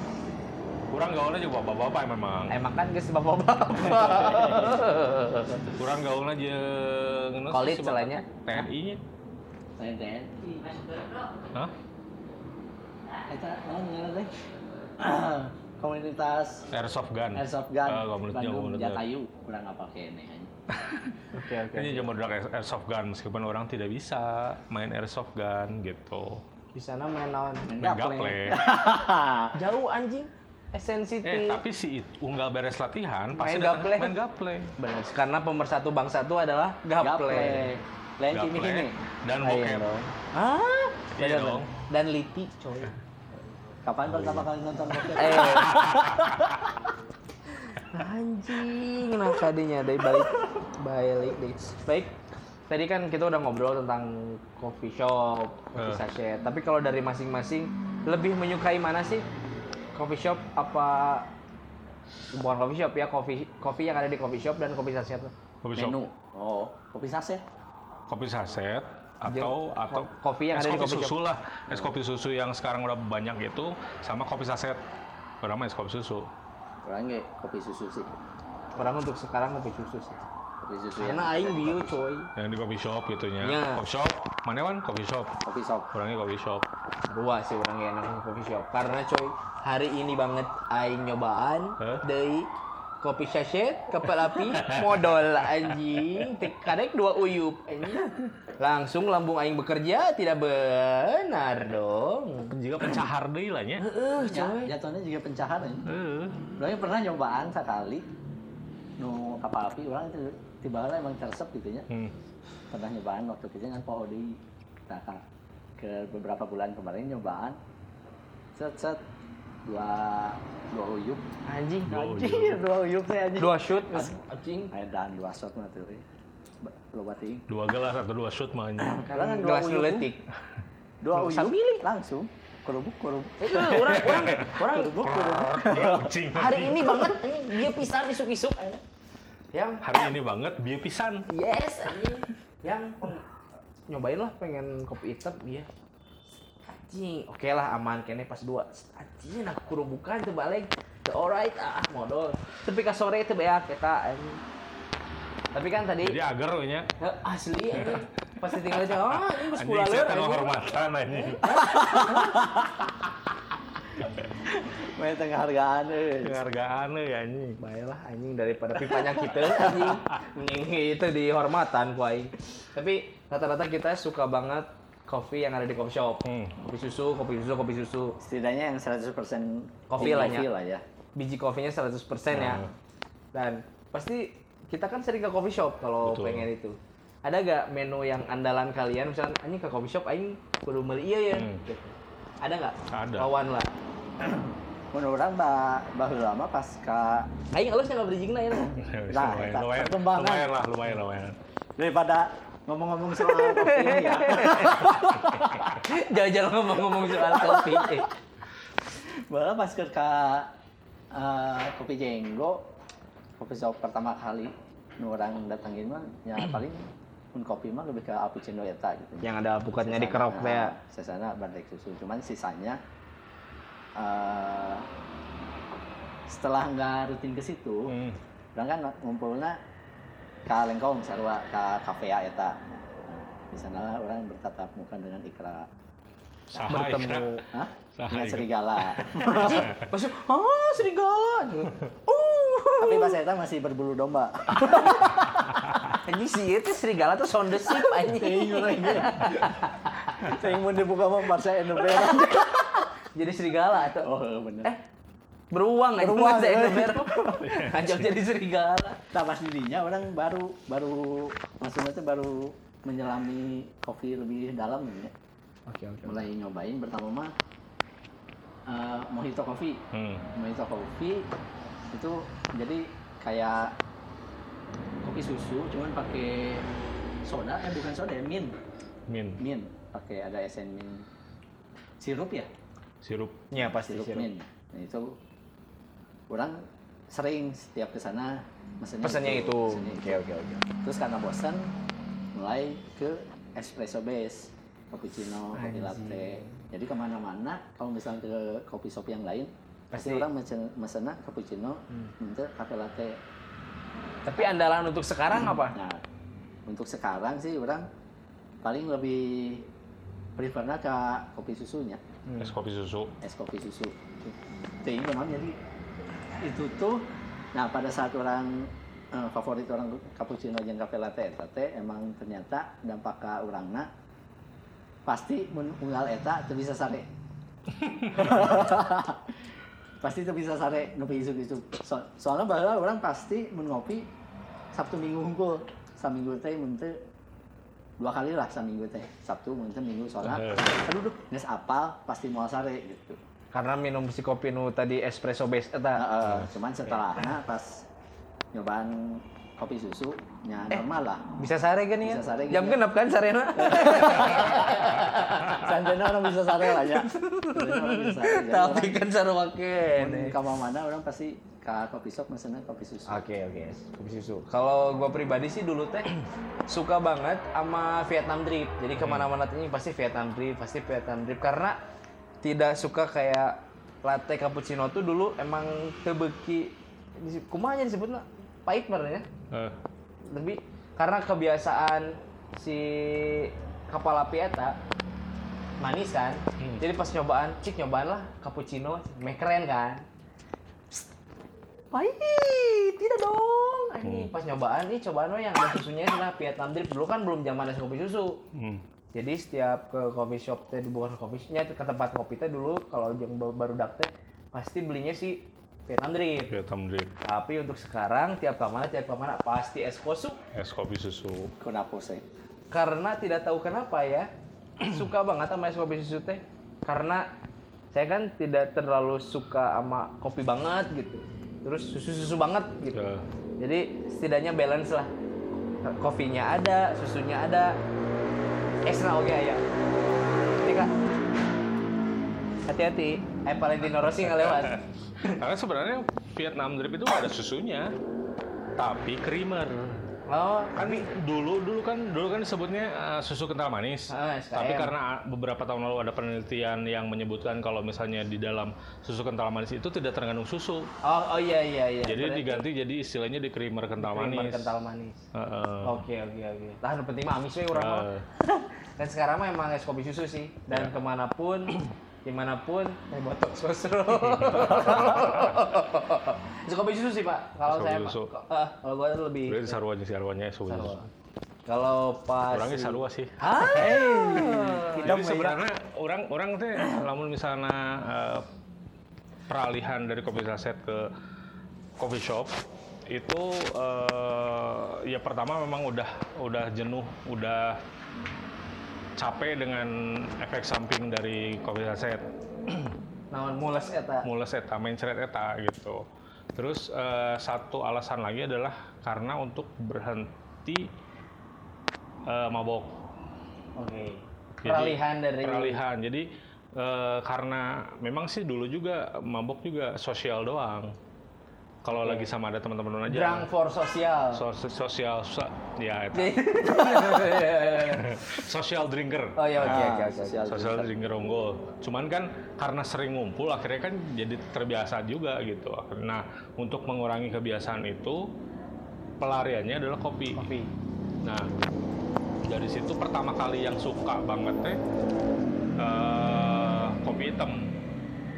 Kurang gaulnya juga bapak-bapak [LAUGHS] memang. Emang kan geus bapak-bapak. Kurang gaulnya jeung Kolit celanya. TNI-nya. Lain teh. Hah? eta naon ngaran teh [CLEARS THROAT] komunitas Airsoft gun. Airsoft gun, Ah, Eh, komunitas Bandung komunitas. Jatayu kurang apa kene anjing. Oke, oke. Ini cuma barudak air- airsoft gun meskipun orang tidak bisa main airsoft gun gitu. Di sana main lawan. Main gaple. Jauh anjing. SNCT. Eh, tapi si itu nggak beres latihan pasti Main datang gaple. main gaple. Benar. Karena pemersatu bangsa itu adalah gaple. gaple Eh, lain Gaple kimi kimi dan Lain bokep. dong. Ah, Iya benar. dong. Dan liti, coy. kapan pertama kali nonton bokep Eh. Anjing, nah tadinya dari balik balik deh. Baik. Tadi kan kita udah ngobrol tentang coffee shop, coffee Eh. sachet. Tapi kalau dari masing-masing lebih menyukai mana sih? Coffee shop apa bukan coffee shop ya, coffee coffee yang ada di coffee shop dan kopi saset. Kopi shop, Menu. Oh, kopi saset. kopi saset atau Jadi, atau ko- kopi yang es ada di kopi coffee shop. susu lah, es kopi susu yang sekarang udah banyak itu sama kopi saset. Berapa es kopi susu? Kurang nggak kopi susu sih. Orang untuk sekarang kopi susu sih. Kopi susu. ya. Karena aing bio coy. Yang di kopi shop gitunya. Iya. Kopi shop, mana kan kopi shop. Kopi shop. Kurangnya kopi shop. Gua sih orang yang enak sama coffee shop. Karena coy, hari ini banget aing nyobaan Hah? dari kopi sachet, kepala api, modal anjing, Tik- kadek dua uyup anjing. Langsung lambung aing bekerja tidak benar dong. Juga pencahar deh lah nya. Eh, Ya, coy. jatuhnya juga pencahan ya. Heeh. Orang pernah nyobaan sekali nu kapal api orang itu tiba emang tersep gitu ya. Hmm. Pernah nyobaan waktu kecil kan poho deui. Nah, ka- ke beberapa bulan kemarin nyobaan set set dua dua uyup Anjing. Dua gitu. Anjing, dua uyup teh anjing Dua shoot anjing. Aya dan dua shot mah eh. teh euy. Ba- loba ting Dua gelas atau dua shoot mah anjing. Orang kan Gelas uyup, letik. dua Loba uyup samili. langsung kerubuk kerubuk Eh, orang [LAUGHS] orang orang kerubuk kerubuk Kucing. [LAUGHS] hari ini banget anjing, dia pisah isuk-isuk anjing. Yang Hari ini banget biar pisan. Yes, anjing. Yang nyobain lah pengen kopi hitam dia. Anjing, oke lah aman kene pas dua. Anjing aku kudu bukan tuh balik. The alright ah modal. Tapi ka sore itu beak kita anjing. Tapi kan tadi Jadi agar we nya. eh, asli anjing. Pas tinggal aja, ah ini pas Anjing pulang saya tanpa hormatan anjing. main tengah hargaan eh. euy. Penghargaan euy ya, anjing. Baiklah anjing daripada pipanya kita anjing. Anjing itu dihormatan ku aing. Tapi rata-rata kita suka banget kopi yang ada di coffee shop. Hmm. Kopi susu, kopi susu, kopi susu. setidaknya yang 100% Kopi lah, Nya. lah ya Biji kopinya 100% ya. Hmm. Dan pasti kita kan sering ke coffee shop kalau Betul. pengen itu. Ada gak menu yang andalan kalian misalnya anjing ke coffee shop aing kudu meuli ieu ya. Hmm. Gitu. Ada nggak? Ada. Lawan lah. menurut orang bah baheula lama pasca Aing alus nggak berijingna [LAUGHS] Iya. ya. Nah, lumayan, eta lumayan, perkembangan. lumayan lah, lumayan, lumayan. daripada ngomong-ngomong soal kopi [LAUGHS] ini ya [LAUGHS] Jangan-jangan ngomong-ngomong soal kopi. eh. Bahwa pas ke ke eh, kopi jenggo kopi shop pertama kali nu orang datangin mah ya Hmm. paling pun kopi mah lebih ke cappuccino eta gitu Ya, Yang ada bukatnya di kerok teh. ya. sisanya bandrek susu cuman sisanya eh, setelah nggak rutin ke situ Hmm. Orang kan ngumpulnya ka Lengkong sarua ka kafea eta. Di sana orang bertatap muka dengan ikra. Saha Bertemu Hah? Saha Dengan [LAUGHS] ikra. serigala. Masuk, ah serigala. Uh, Tapi bahasa eta masih berbulu [LAUGHS] domba. anjing sih itu serigala tuh sound the ship anjing. Saya mau dibuka mah bahasa Indonesia. Jadi serigala atau Oh, bener. eh beruang anjing Beruang, [LAUGHS] bahasa eh. Indonesia. [LAUGHS] Anjing jadi serigala. Nah, pas dirinya orang baru baru maksudnya tuh baru menyelami kopi lebih dalam ya. Oke oke. Mulai nyobain pertama mah eh, mojito coffee. [LAUGHS] Hmm. Mojito kopi itu jadi kayak kopi susu cuman pakai soda eh bukan soda ya min Min, min pakai ada esen min sirup ya sirup. Ya pasti sirup, sirup. min nah, itu orang sering setiap ke sana mesennya Pesannya itu. pesennya itu. Oke oke oke. terus karena bosan mulai ke espresso base cappuccino kopi Anjing. latte jadi kemana-mana kalau misalnya ke kopi shop yang lain pasti, Pasti. orang mesen mesennya cappuccino minta kopi latte Tapi andalan untuk sekarang apa? nah untuk sekarang sih orang paling lebih prefernya ke kopi susunya Es kopi susu. es kopi susu jadi memang jadi itu tuh nah pada saat orang eh, favorit orang cappuccino yang cafe latte eta teh emang ternyata dampak ke orangna pasti mun unggal eta teu bisa sare [LAUGHS] pasti teu bisa sare ngopi isuk-isuk So- soalnya bahwa orang pasti mun ngopi Sabtu Minggu hungkul saminggu teh mun teu dua kali lah saminggu teh Sabtu mun teu Minggu soalnya aduh duh geus apal pasti mau sare gitu Karena minum si Ah. kopi nu tadi espresso base eta. Heeh, cuman setelahnya pas nyobaan kopi susu nya Eh. normal lah Bisa sare kan ya? Bisa sare kan, Jam ya. genap kan [LAUGHS] sarena? Sanjana orang bisa sare lah ya Sanjana orang bisa sare. Jadi Tapi orang- kan sarua kene. mun ka mana orang pasti ke kopi shop mesennya kopi susu Oke, oke. kopi susu. Kalau gua pribadi sih dulu teh [CLEARS THROAT] suka banget sama Vietnam drip. Jadi kemana-mana tuh ini pasti Vietnam drip, pasti Vietnam drip karena tidak suka kayak latte cappuccino tuh dulu emang tebeki kumanya disebutnya pahit ya? sebenarnya. Eh, Tapi karena kebiasaan si kepala pieta manis kan. Jadi pas nyobaan, cik nyobaan lah cappuccino, meh keren kan. Psst. Pahit, tidak dong. Hmm. Ini pas nyobaan, ini cobaan mah yang ada susunya adalah Vietnam drip. Dulu kan belum zaman es kopi susu. hmm. Jadi setiap ke coffee shop teh bukan ke coffee shopnya ke tempat kopi teh dulu kalau yang baru dak teh pasti belinya si Vietnam drip. Vietnam drip, Tapi untuk sekarang tiap kamar tiap kamar pasti es kosu es kopi susu. kunapo sih karena tidak tahu kenapa ya [CLEARS THROAT] suka banget sama es kopi susu teh karena saya kan tidak terlalu suka sama kopi banget gitu terus susu susu banget gitu Ya. jadi setidaknya balance lah kopinya ada susunya ada ekstra oke ya ketika hati-hati eh Valentino Rossi nggak [LAUGHS] lewat Karena sebenarnya Vietnam drip itu nggak ada susunya, tapi creamer. oh Kan dulu dulu kan dulu kan disebutnya eh, susu kental manis. Ah, SKM. tapi karena beberapa tahun lalu ada penelitian yang menyebutkan kalau misalnya di dalam susu kental manis itu tidak terkandung susu. oh oh iya iya iya Jadi Berarti diganti jadi istilahnya di creamer kental creamer manis. kental manis Heeh. Oke oke oke. Tahan nu penting mah amis we urang mah. Eh. [LAUGHS] Dan sekarang mah emang es kopi susu sih. Iya. Dan kemanapun, [CLEARS THROAT] dimanapun teh botok [LAUGHS] sosro. es kopi susu sih pak. Kalau Es kopi saya susu. [LAUGHS] Pak. Eh, kalau gua lebih. Berarti sarwanya sarwanya es kopi susu. Sarwa. Kalau pas. Orangnya sarwa sih. Hah? [LAUGHS] Jadi sebenarnya orang orang teh lamun misalnya eh, peralihan dari kopi saset ke coffee shop itu eh, ya pertama memang udah udah jenuh, udah capek dengan efek samping dari kopi saset. Naon mules eta. Mules eta, mencret eta gitu. Terus eh, satu alasan lagi adalah karena untuk berhenti eh, mabok Oke. Peralihan dari. peralihan. Jadi eh, karena memang sih dulu juga mabok juga sosial doang. Kalau lagi sama ada teman-teman Drunk aja. for sosial. So- so- sosial so- [LAUGHS] ya itu. oh social drinker. iya oke Ah. oke oke. Ah, sosial Social drinker unggul. Cuman kan karena sering ngumpul akhirnya kan jadi terbiasa juga gitu. Nah, untuk mengurangi kebiasaan itu pelariannya adalah kopi. Kopi. Nah, dari situ pertama kali yang suka banget teh eh, kopi hitam.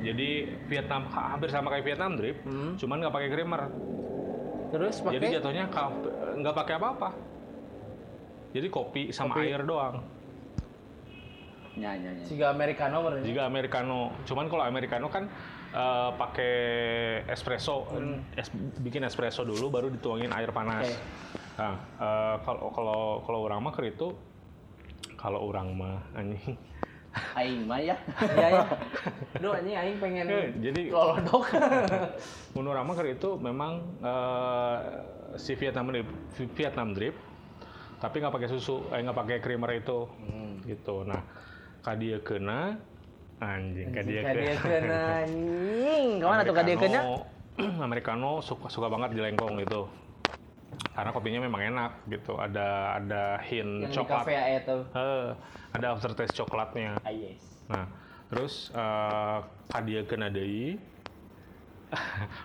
Jadi Vietnam ha- hampir sama kayak Vietnam drip, Hmm. cuman nggak pakai creamer. Terus Jadi pakai. jatuhnya ka- nggak pakai apa-apa. Jadi kopi sama air doang. nya nya nya Siga americano berarti. Juga americano. Cuman kalau americano kan eh, pakai espresso, Es- bikin espresso dulu baru dituangin air panas. Oke. Nah, eh, kalau kalau kalau orang mah keur itu kalau orang mah anjing aing mah ya Iya [LAUGHS] ya. Duh anjing aing pengen Eh, jadi- [LAUGHS] lolodok. Menurut Rama Ker itu memang eh, si Vietnam drip, Vietnam drip, tapi nggak pakai susu, eh nggak pakai creamer itu, gitu. Nah, kadia kena anjing, kadia Kadia kena. kena anjing. Kemana tuh kadia kena? Americano- [CLEARS THROAT] Americano suka suka banget jelengkong gitu. Karena kopinya memang enak gitu. Ada ada Yang hint di coklat. kafe ya itu. Eh, ada aftertaste coklatnya. Ah yes. Nah, terus eh kadia kena deui. [LAUGHS]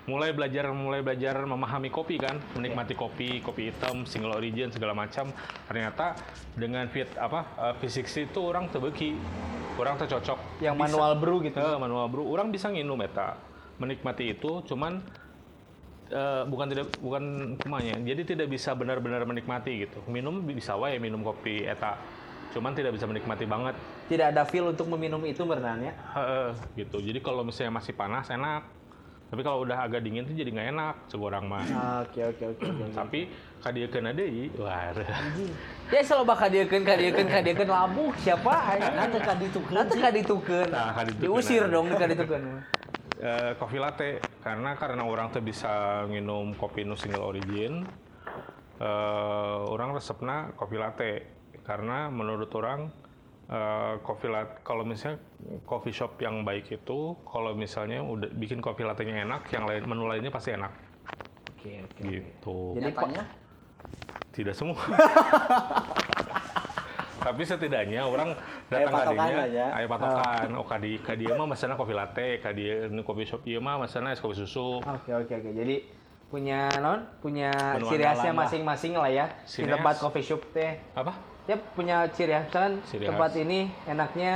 mulai belajar mulai belajar memahami kopi kan, Iya. menikmati kopi, kopi hitam, single origin segala macam. Ternyata dengan fit apa fisik itu orang tebeki, orang tercocok. Yang manual brew gitu. Eh, manual brew, orang bisa nginum eta, menikmati itu, cuman eh, bukan tidak bukan kumanya. Jadi tidak bisa benar-benar menikmati gitu. Minum bisa wae minum kopi eta, cuman tidak bisa menikmati banget. Tidak ada feel untuk meminum itu ya. berenangnya. Heeh, gitu. Jadi kalau misalnya masih panas enak. Tapi kalau udah agak dingin tuh jadi nggak enak segorang mah. Ah, Oke oke oke oke. Tapi kadiekeun deui, wah. [LAUGHS] Ya selalu bakal kadiekeun kadiekeun kadiekeun labuh siapa anjing? nanti kan ditukeun Nanti kaditukeun. Nah, kaditukeun. Diusir dong di kaditukeun. Eh, kopi latte karena karena orang tuh bisa minum kopi nu single origin. eh, orang resepna kopi latte karena menurut orang eh, kopi latte kalau misalnya coffee shop yang baik itu kalau misalnya udah bikin kopi latte-nya enak, yang lain menu lainnya pasti enak Oke, oke. gitu. Jadi Nyatanya? Tidak semua. [LAUGHS] Tapi setidaknya orang datang Aya ke patokan dinya, aja. Eh. aya patokan. Oh, ka di- ka dia mah mesenna kopi latte, ka dia nu kopi shop ieu mah mesenna es kopi susu. Oke oke oke. Jadi punya non punya Menu ciri andalan khasnya lah. masing-masing lah ya Ciri di tempat khas. coffee shop teh. Apa? Dia punya ciri khas. Misalkan Ciri tempat khas. ini enaknya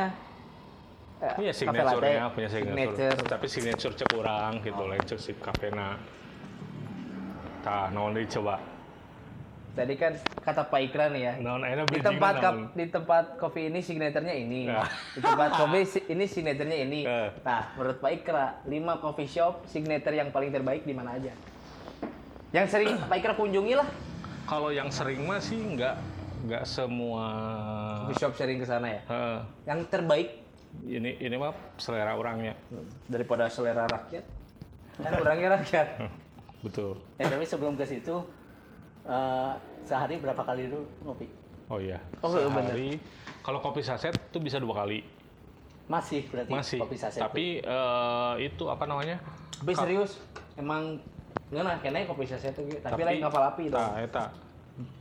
eh, Punya cafe Iya, signaturenya, latte, Oh. punya signature. Tapi signature cek orang gitu, signature si kafena. Tah, naon deui coba? Tadi kan kata Pak Ikran ya. Naon aya Di tempat kap- kan, di tempat kopi ini signaturnya ini. Nah. [LAUGHS] Di tempat kopi si- ini signaturnya ini. Eh. Nah, menurut Pak Ikra, 5 coffee shop signature yang paling terbaik di mana aja? Yang sering Pak Ikra kunjungi lah. Kalau yang sering mah sih nggak nggak semua Coffee shop sering ke sana ya. Heeh. Yang terbaik ini ini mah selera orangnya. daripada selera rakyat kan orangnya rakyat Betul. Eh, tapi sebelum ke situ eh, sehari berapa kali lu ngopi? Oh iya. Oh, iya, bener. Iya, Sehari kalau kopi saset tuh bisa dua kali. Masih berarti Masih. kopi saset. Tapi eh, itu apa namanya? tapi Kap- serius emang nggak kena kopi gitu. saset itu tapi, Tapi- lain kapal api itu Nah, eta.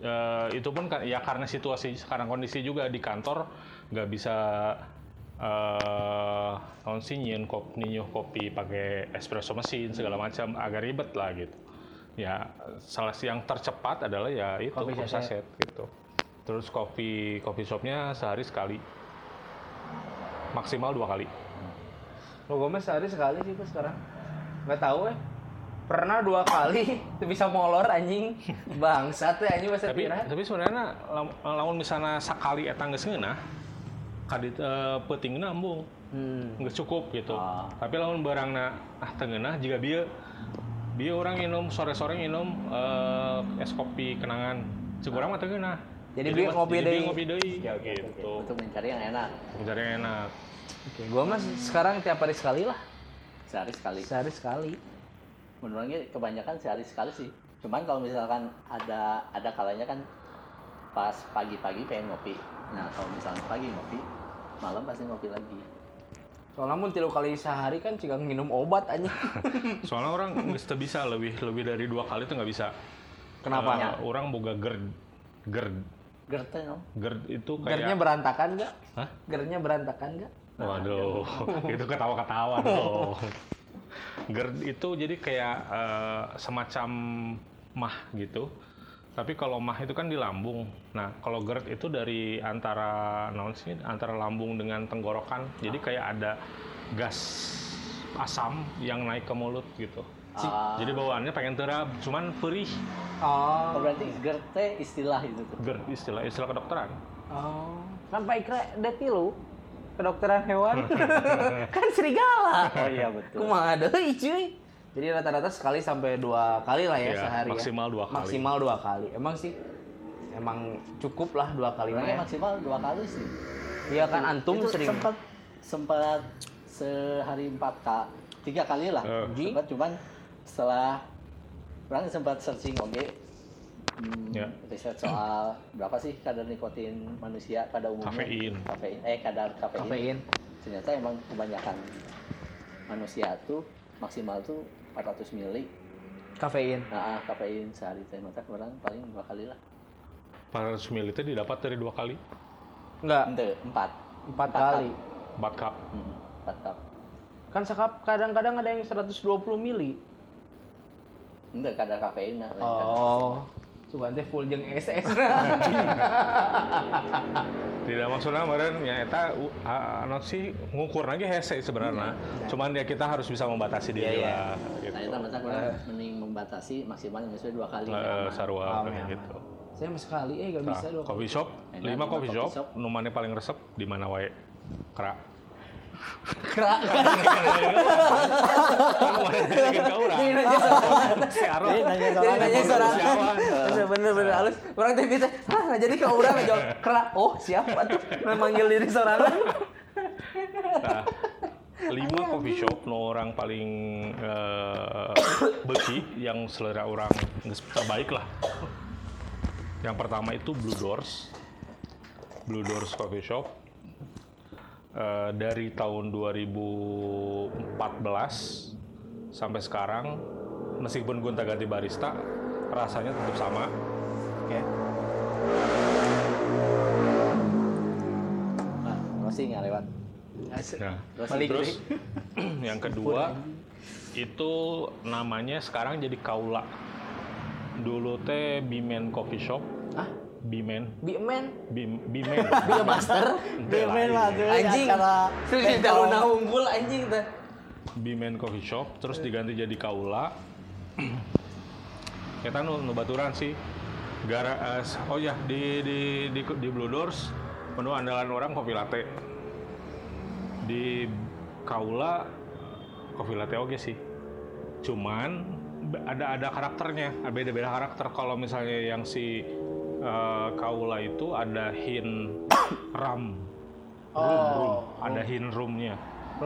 Eh, itu pun ka- ya karena situasi sekarang kondisi juga di kantor nggak bisa eh naon sih nyieun kop- ninyuh kopi pakai espresso mesin segala macam agak ribet lah gitu. Ya salah si- yang tercepat adalah ya itu Kopi kopi, saset. gitu. Terus kopi kopi shopnya sehari sekali maksimal dua kali. lo gue mah sehari sekali sih gua sekarang nggak tahu eh pernah dua kali [LAUGHS] tuh bisa molor anjing bangsat teh anjing bahasa tapi pirah tapi sebenarnya lam- lamun misalnya sekali etang geus ngeunah kadit eh, peutingna embung hmm. nggak cukup gitu Ah. tapi lamun barangna ah teu ngeunah jika dia dia orang minum sore-sore minum eh, es kopi kenangan cukup orang mah teu ngeunah Jadi beli mas- ngopi jadi beli deui. ngopi deui oke, oke, gitu Untuk mencari yang enak mencari yang enak oke gue mah sekarang tiap hari sekali lah sehari sekali. sehari sekali Menurutnya kebanyakan sehari sekali sih. Cuman kalau misalkan ada ada kalanya kan pas pagi-pagi pengen ngopi. Nah kalau misalkan pagi ngopi, malam pasti ngopi lagi. soalnya mun tilu kali sehari kan juga minum obat [LAUGHS] anjing soalnya orang nggak teu bisa lebih lebih dari dua kali tuh nggak bisa Eh, kenapa orang boga gerd gerd Gerte no? gerd itu gernya kayak berantakan nggak Oh iya. Hah? gernya berantakan nggak Waduh, itu ketawa-ketawa dong. GERD itu jadi kayak eh, semacam mah gitu. Tapi kalau mah itu kan di lambung. Nah, kalau GERD itu dari antara naon sih, antara lambung dengan tenggorokan. Jadi kayak ada gas asam yang naik ke mulut gitu. Ah. Jadi bawaannya pengen terap, cuman perih. oh Oh, berarti gerte istilah itu tuh. GERD istilah istilah kedokteran. Oh, kan Pak Ikra ada tilu kedokteran [LAUGHS] hewan kan serigala. Oh iya betul. Kumaha deui cuy. Jadi rata-rata sekali sampai dua kali lah ya Iya, sehari maksimal ya. dua kali. Maksimal dua kali. Emang sih emang cukup lah dua kali mah Sebenarnya ya. maksimal dua kali sih. Iya kan antum Iya. itu sering. sempat sempat sehari empat kali tiga kali lah Eh. sempat cuman setelah orang sempat searching oke hmm, Ya. riset soal berapa sih kadar nikotin manusia pada umumnya Kafein. kafein eh kadar kafein, Kafein. ternyata emang kebanyakan manusia tuh maksimal tuh 400 mili Kafein. nah ah, kafein sehari teh mata kurang paling dua kali lah 400 ml itu didapat dari dua kali, Enggak, Ente, empat empat kali. empat cup. Hmm, empat cup Kan sekap kadang-kadang ada yang 120 mili. Ente, kadar kafein nah, lain kadar. Oh. Coba teh full jeung [LAUGHS] SS. Tidak maksudnya kemarin ya eta u- a- anu sih ngukur lagi hese sebenarnya. Cuman ya kita harus bisa membatasi diri Iya, iya. lah Nah, gitu. itu maksudnya kurang mending membatasi maksimal sesuai dua kali. ya. Eh, sarua Aman, kayak aman. gitu. Saya mah sekali eh enggak Nah, bisa dua kali. coffee shop, Enak, lima lima coffee coffee shop, shop. numannya paling resep di mana wae. Kera. Kerak. Jadi nanya sorangan. Jadi nanya Jadi sorangan. nanya sorangan. Bener bener bener halus. Orang teh bisa, ah nggak jadi ke orang jawab kerak. Oh siapa tuh? Memanggil diri sorangan. Nah, lima coffee shop no orang paling eh, beuki yang selera orang geus terbaik lah. Yang pertama itu Blue Doors. Blue Doors Coffee Shop. Eh, dari tahun 2014 sampai sekarang, meskipun gonta-ganti barista, rasanya tetap sama. Oke. Nah, closing nggak lewat. Nah, Balik. terus [CLEARS THROAT] yang kedua itu namanya sekarang jadi Kaula. Dulu teh Bimen Coffee Shop. Hah? Bimen. Bigman, Bim, [LAUGHS] Bimen. Master, Ente lain. Anjing. Acara Terus di Taruna Unggul anjing teh. Bimen Coffee Shop, terus diganti jadi Kaula. [CLEARS THROAT] Kita nu, nu baturan sih. Gara, eh, oh ya di di di, di Blue Doors menu andalan orang kopi latte. Di Kaula kopi latte oke sih. Cuman b- ada ada karakternya, beda beda karakter. Kalau misalnya yang si eh, Kaula itu ada hin [COUGHS] ram, Oh. room, room. ada hin roomnya. [CLEARS THROAT]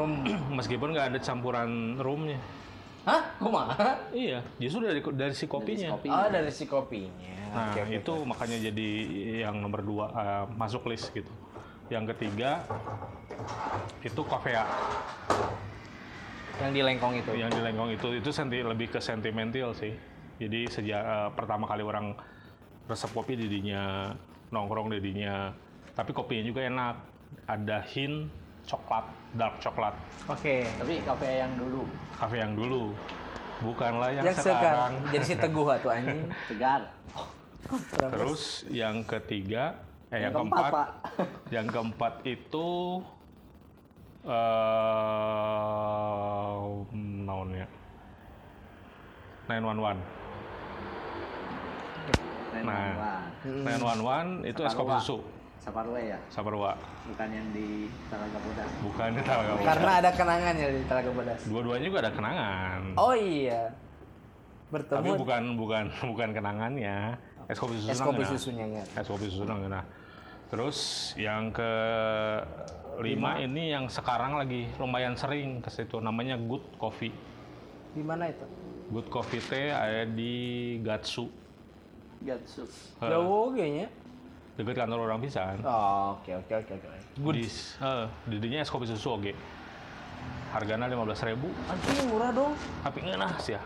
Meskipun nggak ada campuran roomnya. Hah? Kumaha? Iya, justru dari dari si Iya. kopinya. Kopi. Ah. Oh, dari si kopinya. Nah, Oke, oke, itu makanya jadi yang nomor dua eh, masuk list gitu. Yang ketiga itu kofea oke. Yang di lengkong itu. yang di Lenggong itu itu senti- lebih ke sentimental sih. Jadi sejak eh, pertama kali orang resep kopi didinya nongkrong didinya, tapi kopinya juga enak. Ada hint coklat, dark coklat. Oke. Tapi kafe yang dulu Kafe yang dulu, bukanlah yang, Yang sekarang. sekarang. Jadi si Teguh tuh anjing. segar. Terus yang ketiga, eh, yang, Yang keempat, keempat, [LAUGHS] yang keempat itu eh ya? naonnya 911. Nah, 911 itu es kopi Saparua. susu Saparwe ya, Saparwa, bukan yang di Taraga Bodas. bukan di Talaga Bodas. [LAUGHS] Karena ada kenangannya di Talaga Bodas. Dua-duanya juga ada kenangan. Oh iya. Tapi Bertemu bukan bukan [LAUGHS] bukan kenangannya. Es kopi susu es nang kopi enak. susunya ya. es kopi susu dong, nah. Terus yang ke lima ini yang sekarang lagi lumayan sering ke situ namanya Good Coffee. Di mana itu? Good Coffee teh ada di Gatsu. Gatsu. Eh, Jauh kayaknya. Deket kantor orang pisan. Oh, oke, oke, oke, oke. Good. Di, eh, didinya es kopi susu oke. Hargana 15.000 Anjing murah dong. tapi enak sih ya.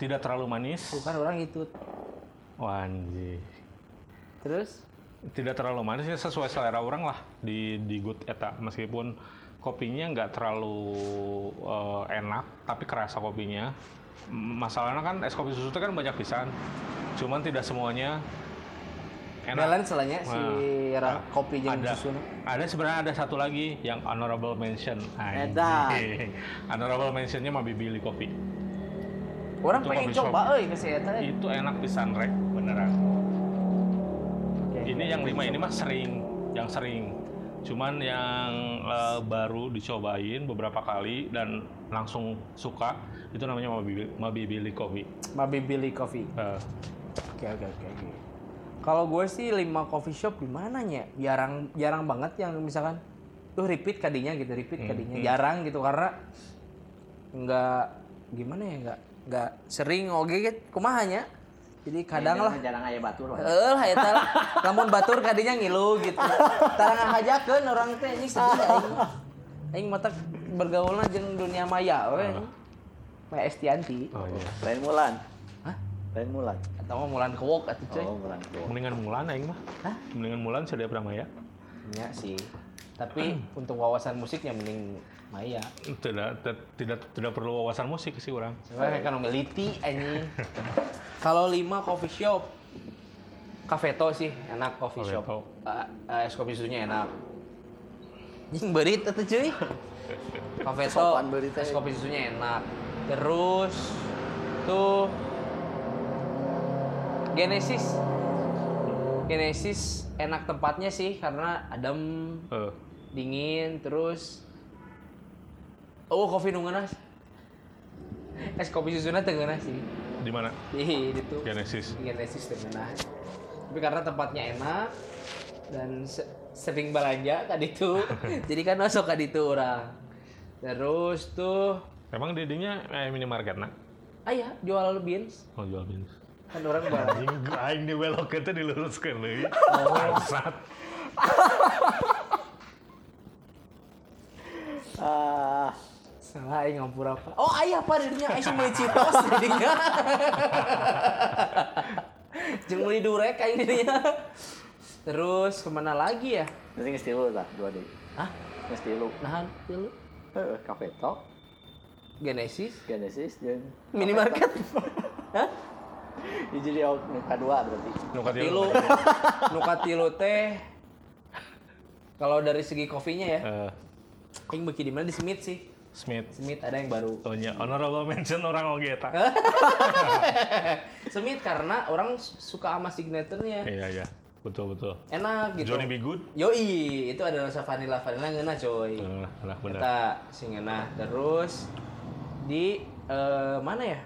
Tidak terlalu manis. Bukan orang itu. Wanji. Terus Tidak terlalu manis ya sesuai selera orang lah di di Good Eta meskipun kopinya nggak terlalu eh, enak tapi kerasa kopinya M- masalahnya kan es kopi susu itu kan banyak pisan cuman tidak semuanya enak balance lah nya si Nah, ra- kopi jeung ada susu. ada sebenarnya ada satu lagi yang honorable mention Anjing. [LAUGHS] honorable mentionnya mah bibili kopi Orang Itu pengen coffee shop. Iya. coba eh, euy ke si eta. euy. itu enak pisan rek beneran ini yang lima ini mah sering yang sering cuman yang eh, baru dicobain beberapa kali dan langsung suka itu namanya Mabi- mabibili kopi Mabi Billy Coffee. Eh, Oke oke oke. oke. Kalau gue sih lima coffee shop di mananya? Jarang jarang banget yang misalkan tuh repeat kadinya gitu, repeat Hmm, kadinya. iya. Jarang gitu karena nggak gimana ya nggak nggak sering oge gitu kumahanya. Jadi kadang lah. Jarang aya batur. lah. Eh, hayata lah. Lamun batur kadinya ngilu gitu. Tarangan hajakeun orang teh anjing sedih aing. Aing mata bergaulna jeung dunia maya we. Ah. Maya Estianti. oh iya. Lain Mulan. Hah? Lain Mulan. Atau mah Mulan Kewok atuh cuy. Oh, Mulan. Tuh. mendingan Mulan aing mah Hah? mendingan Mulan sudah pernah ya Ya sih. Tapi [CLEARS THROAT] untuk wawasan musiknya mending Maya. tidak te- tidak tidak perlu wawasan musik sih orang Soalnya kan meliti [LAUGHS] anjing. Kalau lima coffee shop, Kafeto sih enak coffee shop. Kafeto. Eh, eh, es kopi susunya enak. jing berit atau cuy? Kafeto, Sopan beri teh. es kopi susunya enak. Terus tuh Genesis, Genesis enak tempatnya sih karena adem, Eh, dingin, terus oh kopi nunggunas, es kopi susunya tengenas sih, di mana Ih, Iya, itu Genesis Genesis tengenas. Tapi karena tempatnya enak dan se- sering belanja tadi tuh, jadi kan masuk tadi tuh orang. Terus tuh emang didinya eh, minimarket nak Ayah jual beans. oh jual beans kan orang balik Anjing, aing di belok itu diluruskan lagi. Bangsat. Ah, salah aing ngampura apa oh ayah apa dirinya aing sih mulai citos [LAUGHS] dirinya jeung mulai durek aing dirinya terus kemana lagi ya nanti nggak stilu lah dua deh. Hah? Nggak stilu. nahan dulu Heeh, kafe tok, Genesis Genesis dan minimarket Hah? Ya, jadi oh, muka dua berarti. Nukat tilu nuka tilu teh kalau dari segi kopinya ya aing beki di mana di Smith sih Eh, Smith. Smith ada yang baru Oh nya, honorable mention orang oge eta. Smith karena orang suka sama signaturnya Iya iya, betul betul. enak gitu Johnny B. Good. Yoi, itu ada rasa vanilla vanilla ngena coy. Eh, Lah benar. Kita sing ngena terus di eh, mana ya?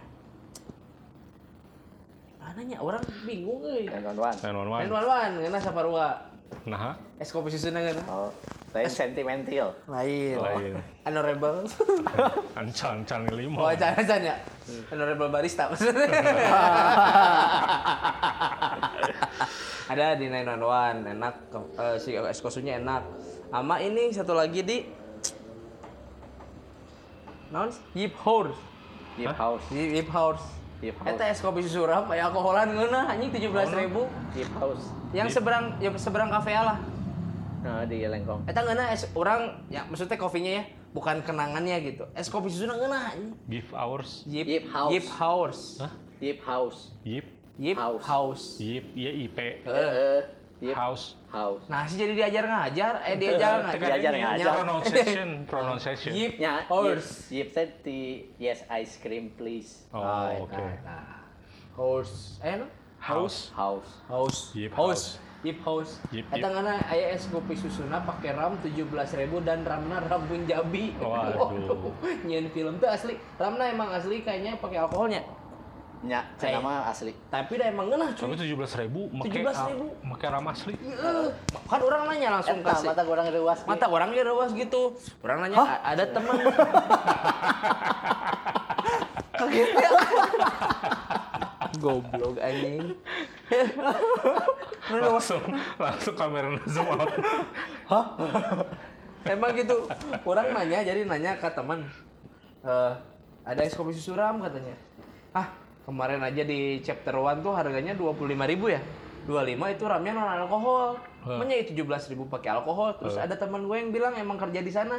Mananya orang bingung euy. Dan kawan. Nine one one. Main wan ngena saparua. [LAUGHS] Nah, Es kopi susu ngena. Oh, lain sentimental. Lain. Lain. [LAUGHS] Honorable. ancan ancan lima. Oh, jangan jangan ya. Honorable barista [LAUGHS] maksudnya. ada di 911 enak ko- eh, si es kosunya enak. Ama ini satu lagi di non Yip Hours. Deep house, Yip Hours. Yip House. Eta es kopi susu ram, ya alkoholan ngeunah anjing 17 ribu. deep house. Yang seberang ya seberang kafe lah. Nah, di Lengkong. Eta ngeunah es orang ya maksudnya kopinya ya, bukan kenangannya gitu. Es kopi susu ngeunah anjing. Give hours. Yip, Yip Hours. Yip Hours. Hah? Deep house. Yip. Yip House. House. Yip. Ya IP. Heeh, deep House. eh. house. Nah, sih jadi diajar ngajar, eh diajar ngajar. Diajar ini ngajar. [LAUGHS] Pronunciation. Pronunciation. Yip Ya, Hours. Yip, Yip said the yes ice cream please. Oh oke. Hours. Eh, no? House. House. House. Yip house. Yip House. Yip, Eta yip. ngana aya es kopi susuna pakai ram 17.000 dan ramna ram Punjabi. Waduh. [LAUGHS] Nyen film tuh asli. Ramna emang asli kayaknya pakai alkoholnya. Ya, Hai. cina mah asli. Tapi dah emang ngeunah Tapi cuy. tujuh belas ribu. 17.000. Make ramah [LAUGHS] asli. Eh, Kan orang nanya langsung Eta kasih. mata kurang rewas. Mata orangnya rewas gitu. Orang nanya, "A- ada teman. [LAUGHS] [LAUGHS] Goblok [LAUGHS] anjing. Langsung langsung kamera zoom [LAUGHS] out. [LAUGHS] Emang gitu. Orang nanya, jadi nanya ke teman. "Eh, ada es kopi susu ram katanya. Ah, kemarin aja di chapter 1 tuh harganya 25.000 ya. 25 itu ramnya non alkohol. Menya itu 17.000 pakai alkohol. Terus ada teman gue yang bilang emang kerja di sana.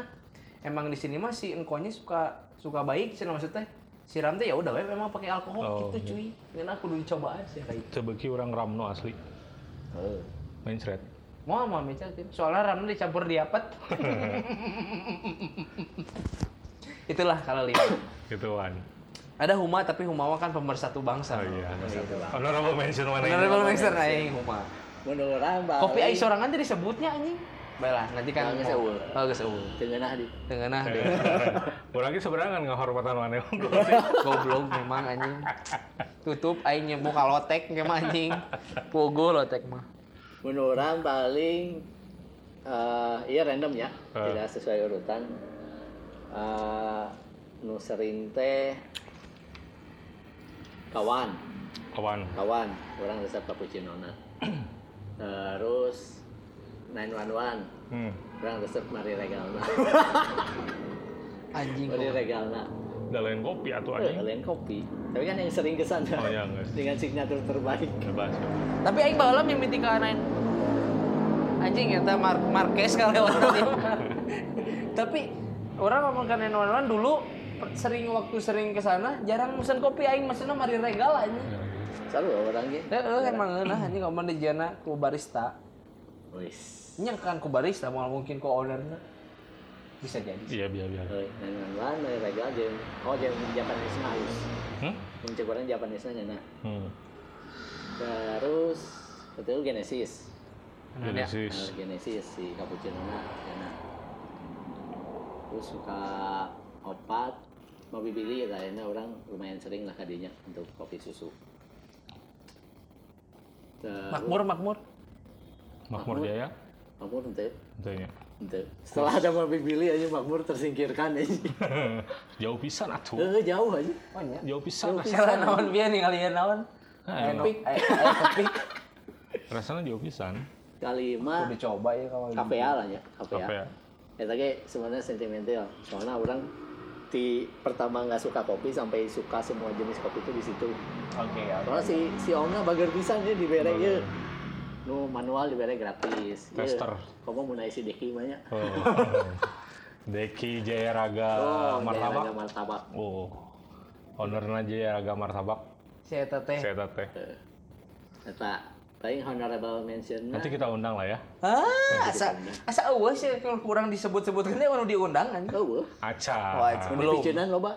Emang di sini mah si engkonya suka suka baik sih maksudnya. Si Ram teh ya udah we memang pakai alkohol Oh, gitu cuy. Dan aku dulu coba aja kayak Coba ki orang ramno asli. Eh. Mencret. Mau sama mecah tim. Soalnya ramen dicampur diapet. Itulah kalau lima. Gitu kan. Ada Huma tapi Humawa kan pemersatu bangsa. Oh iya. Honorable mention mana ini? Honorable Mention aing Huma. Menurut orang balik. Kopi aing sorangan teh disebutnya anjing. Baiklah, nanti kan Nah, geus eueuh. Oh, geus eueuh. Tengenah di. Tengenah deh. Iya. Orang ki sebenarnya nggak hormatan mana Goblok memang anjing. Tutup aing nyebut kalotek ke mah anjing. Pogo lotek mah. Menurut orang paling eh iya random ya, Ah. tidak sesuai urutan. Eh nu sering teh kawan, Kawan. kawan, orang resep cappuccino na. Terus 911, Hmm. orang resep mari regalna. Anjing. mari regalna. Udah lain kopi atuh Eh, anjing. Kalian kopi. Tapi kan yang sering kesana Oh, iya, enggak. dengan signatur terbaik. Bebas. Tapi aing baheula mimiti ka anain. Anjing eta Mar Marquez kalau lewat tadi. [LAUGHS] Tapi orang ngomong ke Nenwan dulu per- sering waktu sering ke sana jarang mesen kopi aing mesenna mari regal anjing. Selalu orangnya. Heeh Eh, emang eunah anjing ngomong di jana ku barista. Wis. Nya kan ku barista mau mungkin ku ownernya. Bisa jadi. Iya biar biar. Nah, nah, regal jeung oh jeung Japanese na halus. Hmm. Mun ceuk urang Japanese na nya, nah. Hmm. Terus betul Genesis. Iya, Nah, Genesis. Genesis si cappuccino na cenah. Terus suka opat mau bibili ya karena orang lumayan sering lah kadinya untuk kopi susu. Terus- Makmur makmur. Makmur ya? Jaya. Makmur ente. Tentunya. Ente. Setelah ada mau bibili aja makmur tersingkirkan aja. [LAUGHS] Jauh pisan atuh. Eh, jauh aja. Oh nya. Iya. Jauh pisan. lah. Jalan ya, naon bieu ningali naon. Nah, Kopi, eh, eh, kopi. rasanya jauh pisan. Kalima Udah coba ya kalau kafea lah ya, kafea. Kafe ya. Eta ge sebenarnya sentimental. Soalnya orang di pertama nggak suka kopi sampai suka semua jenis kopi itu di situ. Oke ya. Soalnya si si Ongna bager pisan ya dibere Bager. ieu. Nu manual dibere gratis. Ieu, Tester. Komo mun isi deki banyak. [LAUGHS] Oh. Deki Jaya Raga Ah, Martabak. daerah Oh, martabak. Oh. Ownernya Jaya Raga Martabak. Saya teteh. Saya teteh. Eh. Eta paling honorable mention Nanti kita undang lah ya. Ah, asa asa eueuh sih kalau kurang disebut-sebutkeun teh anu diundangan. Eueuh. Aca. Wah, Aca. Belum. Belum. Picunan loba.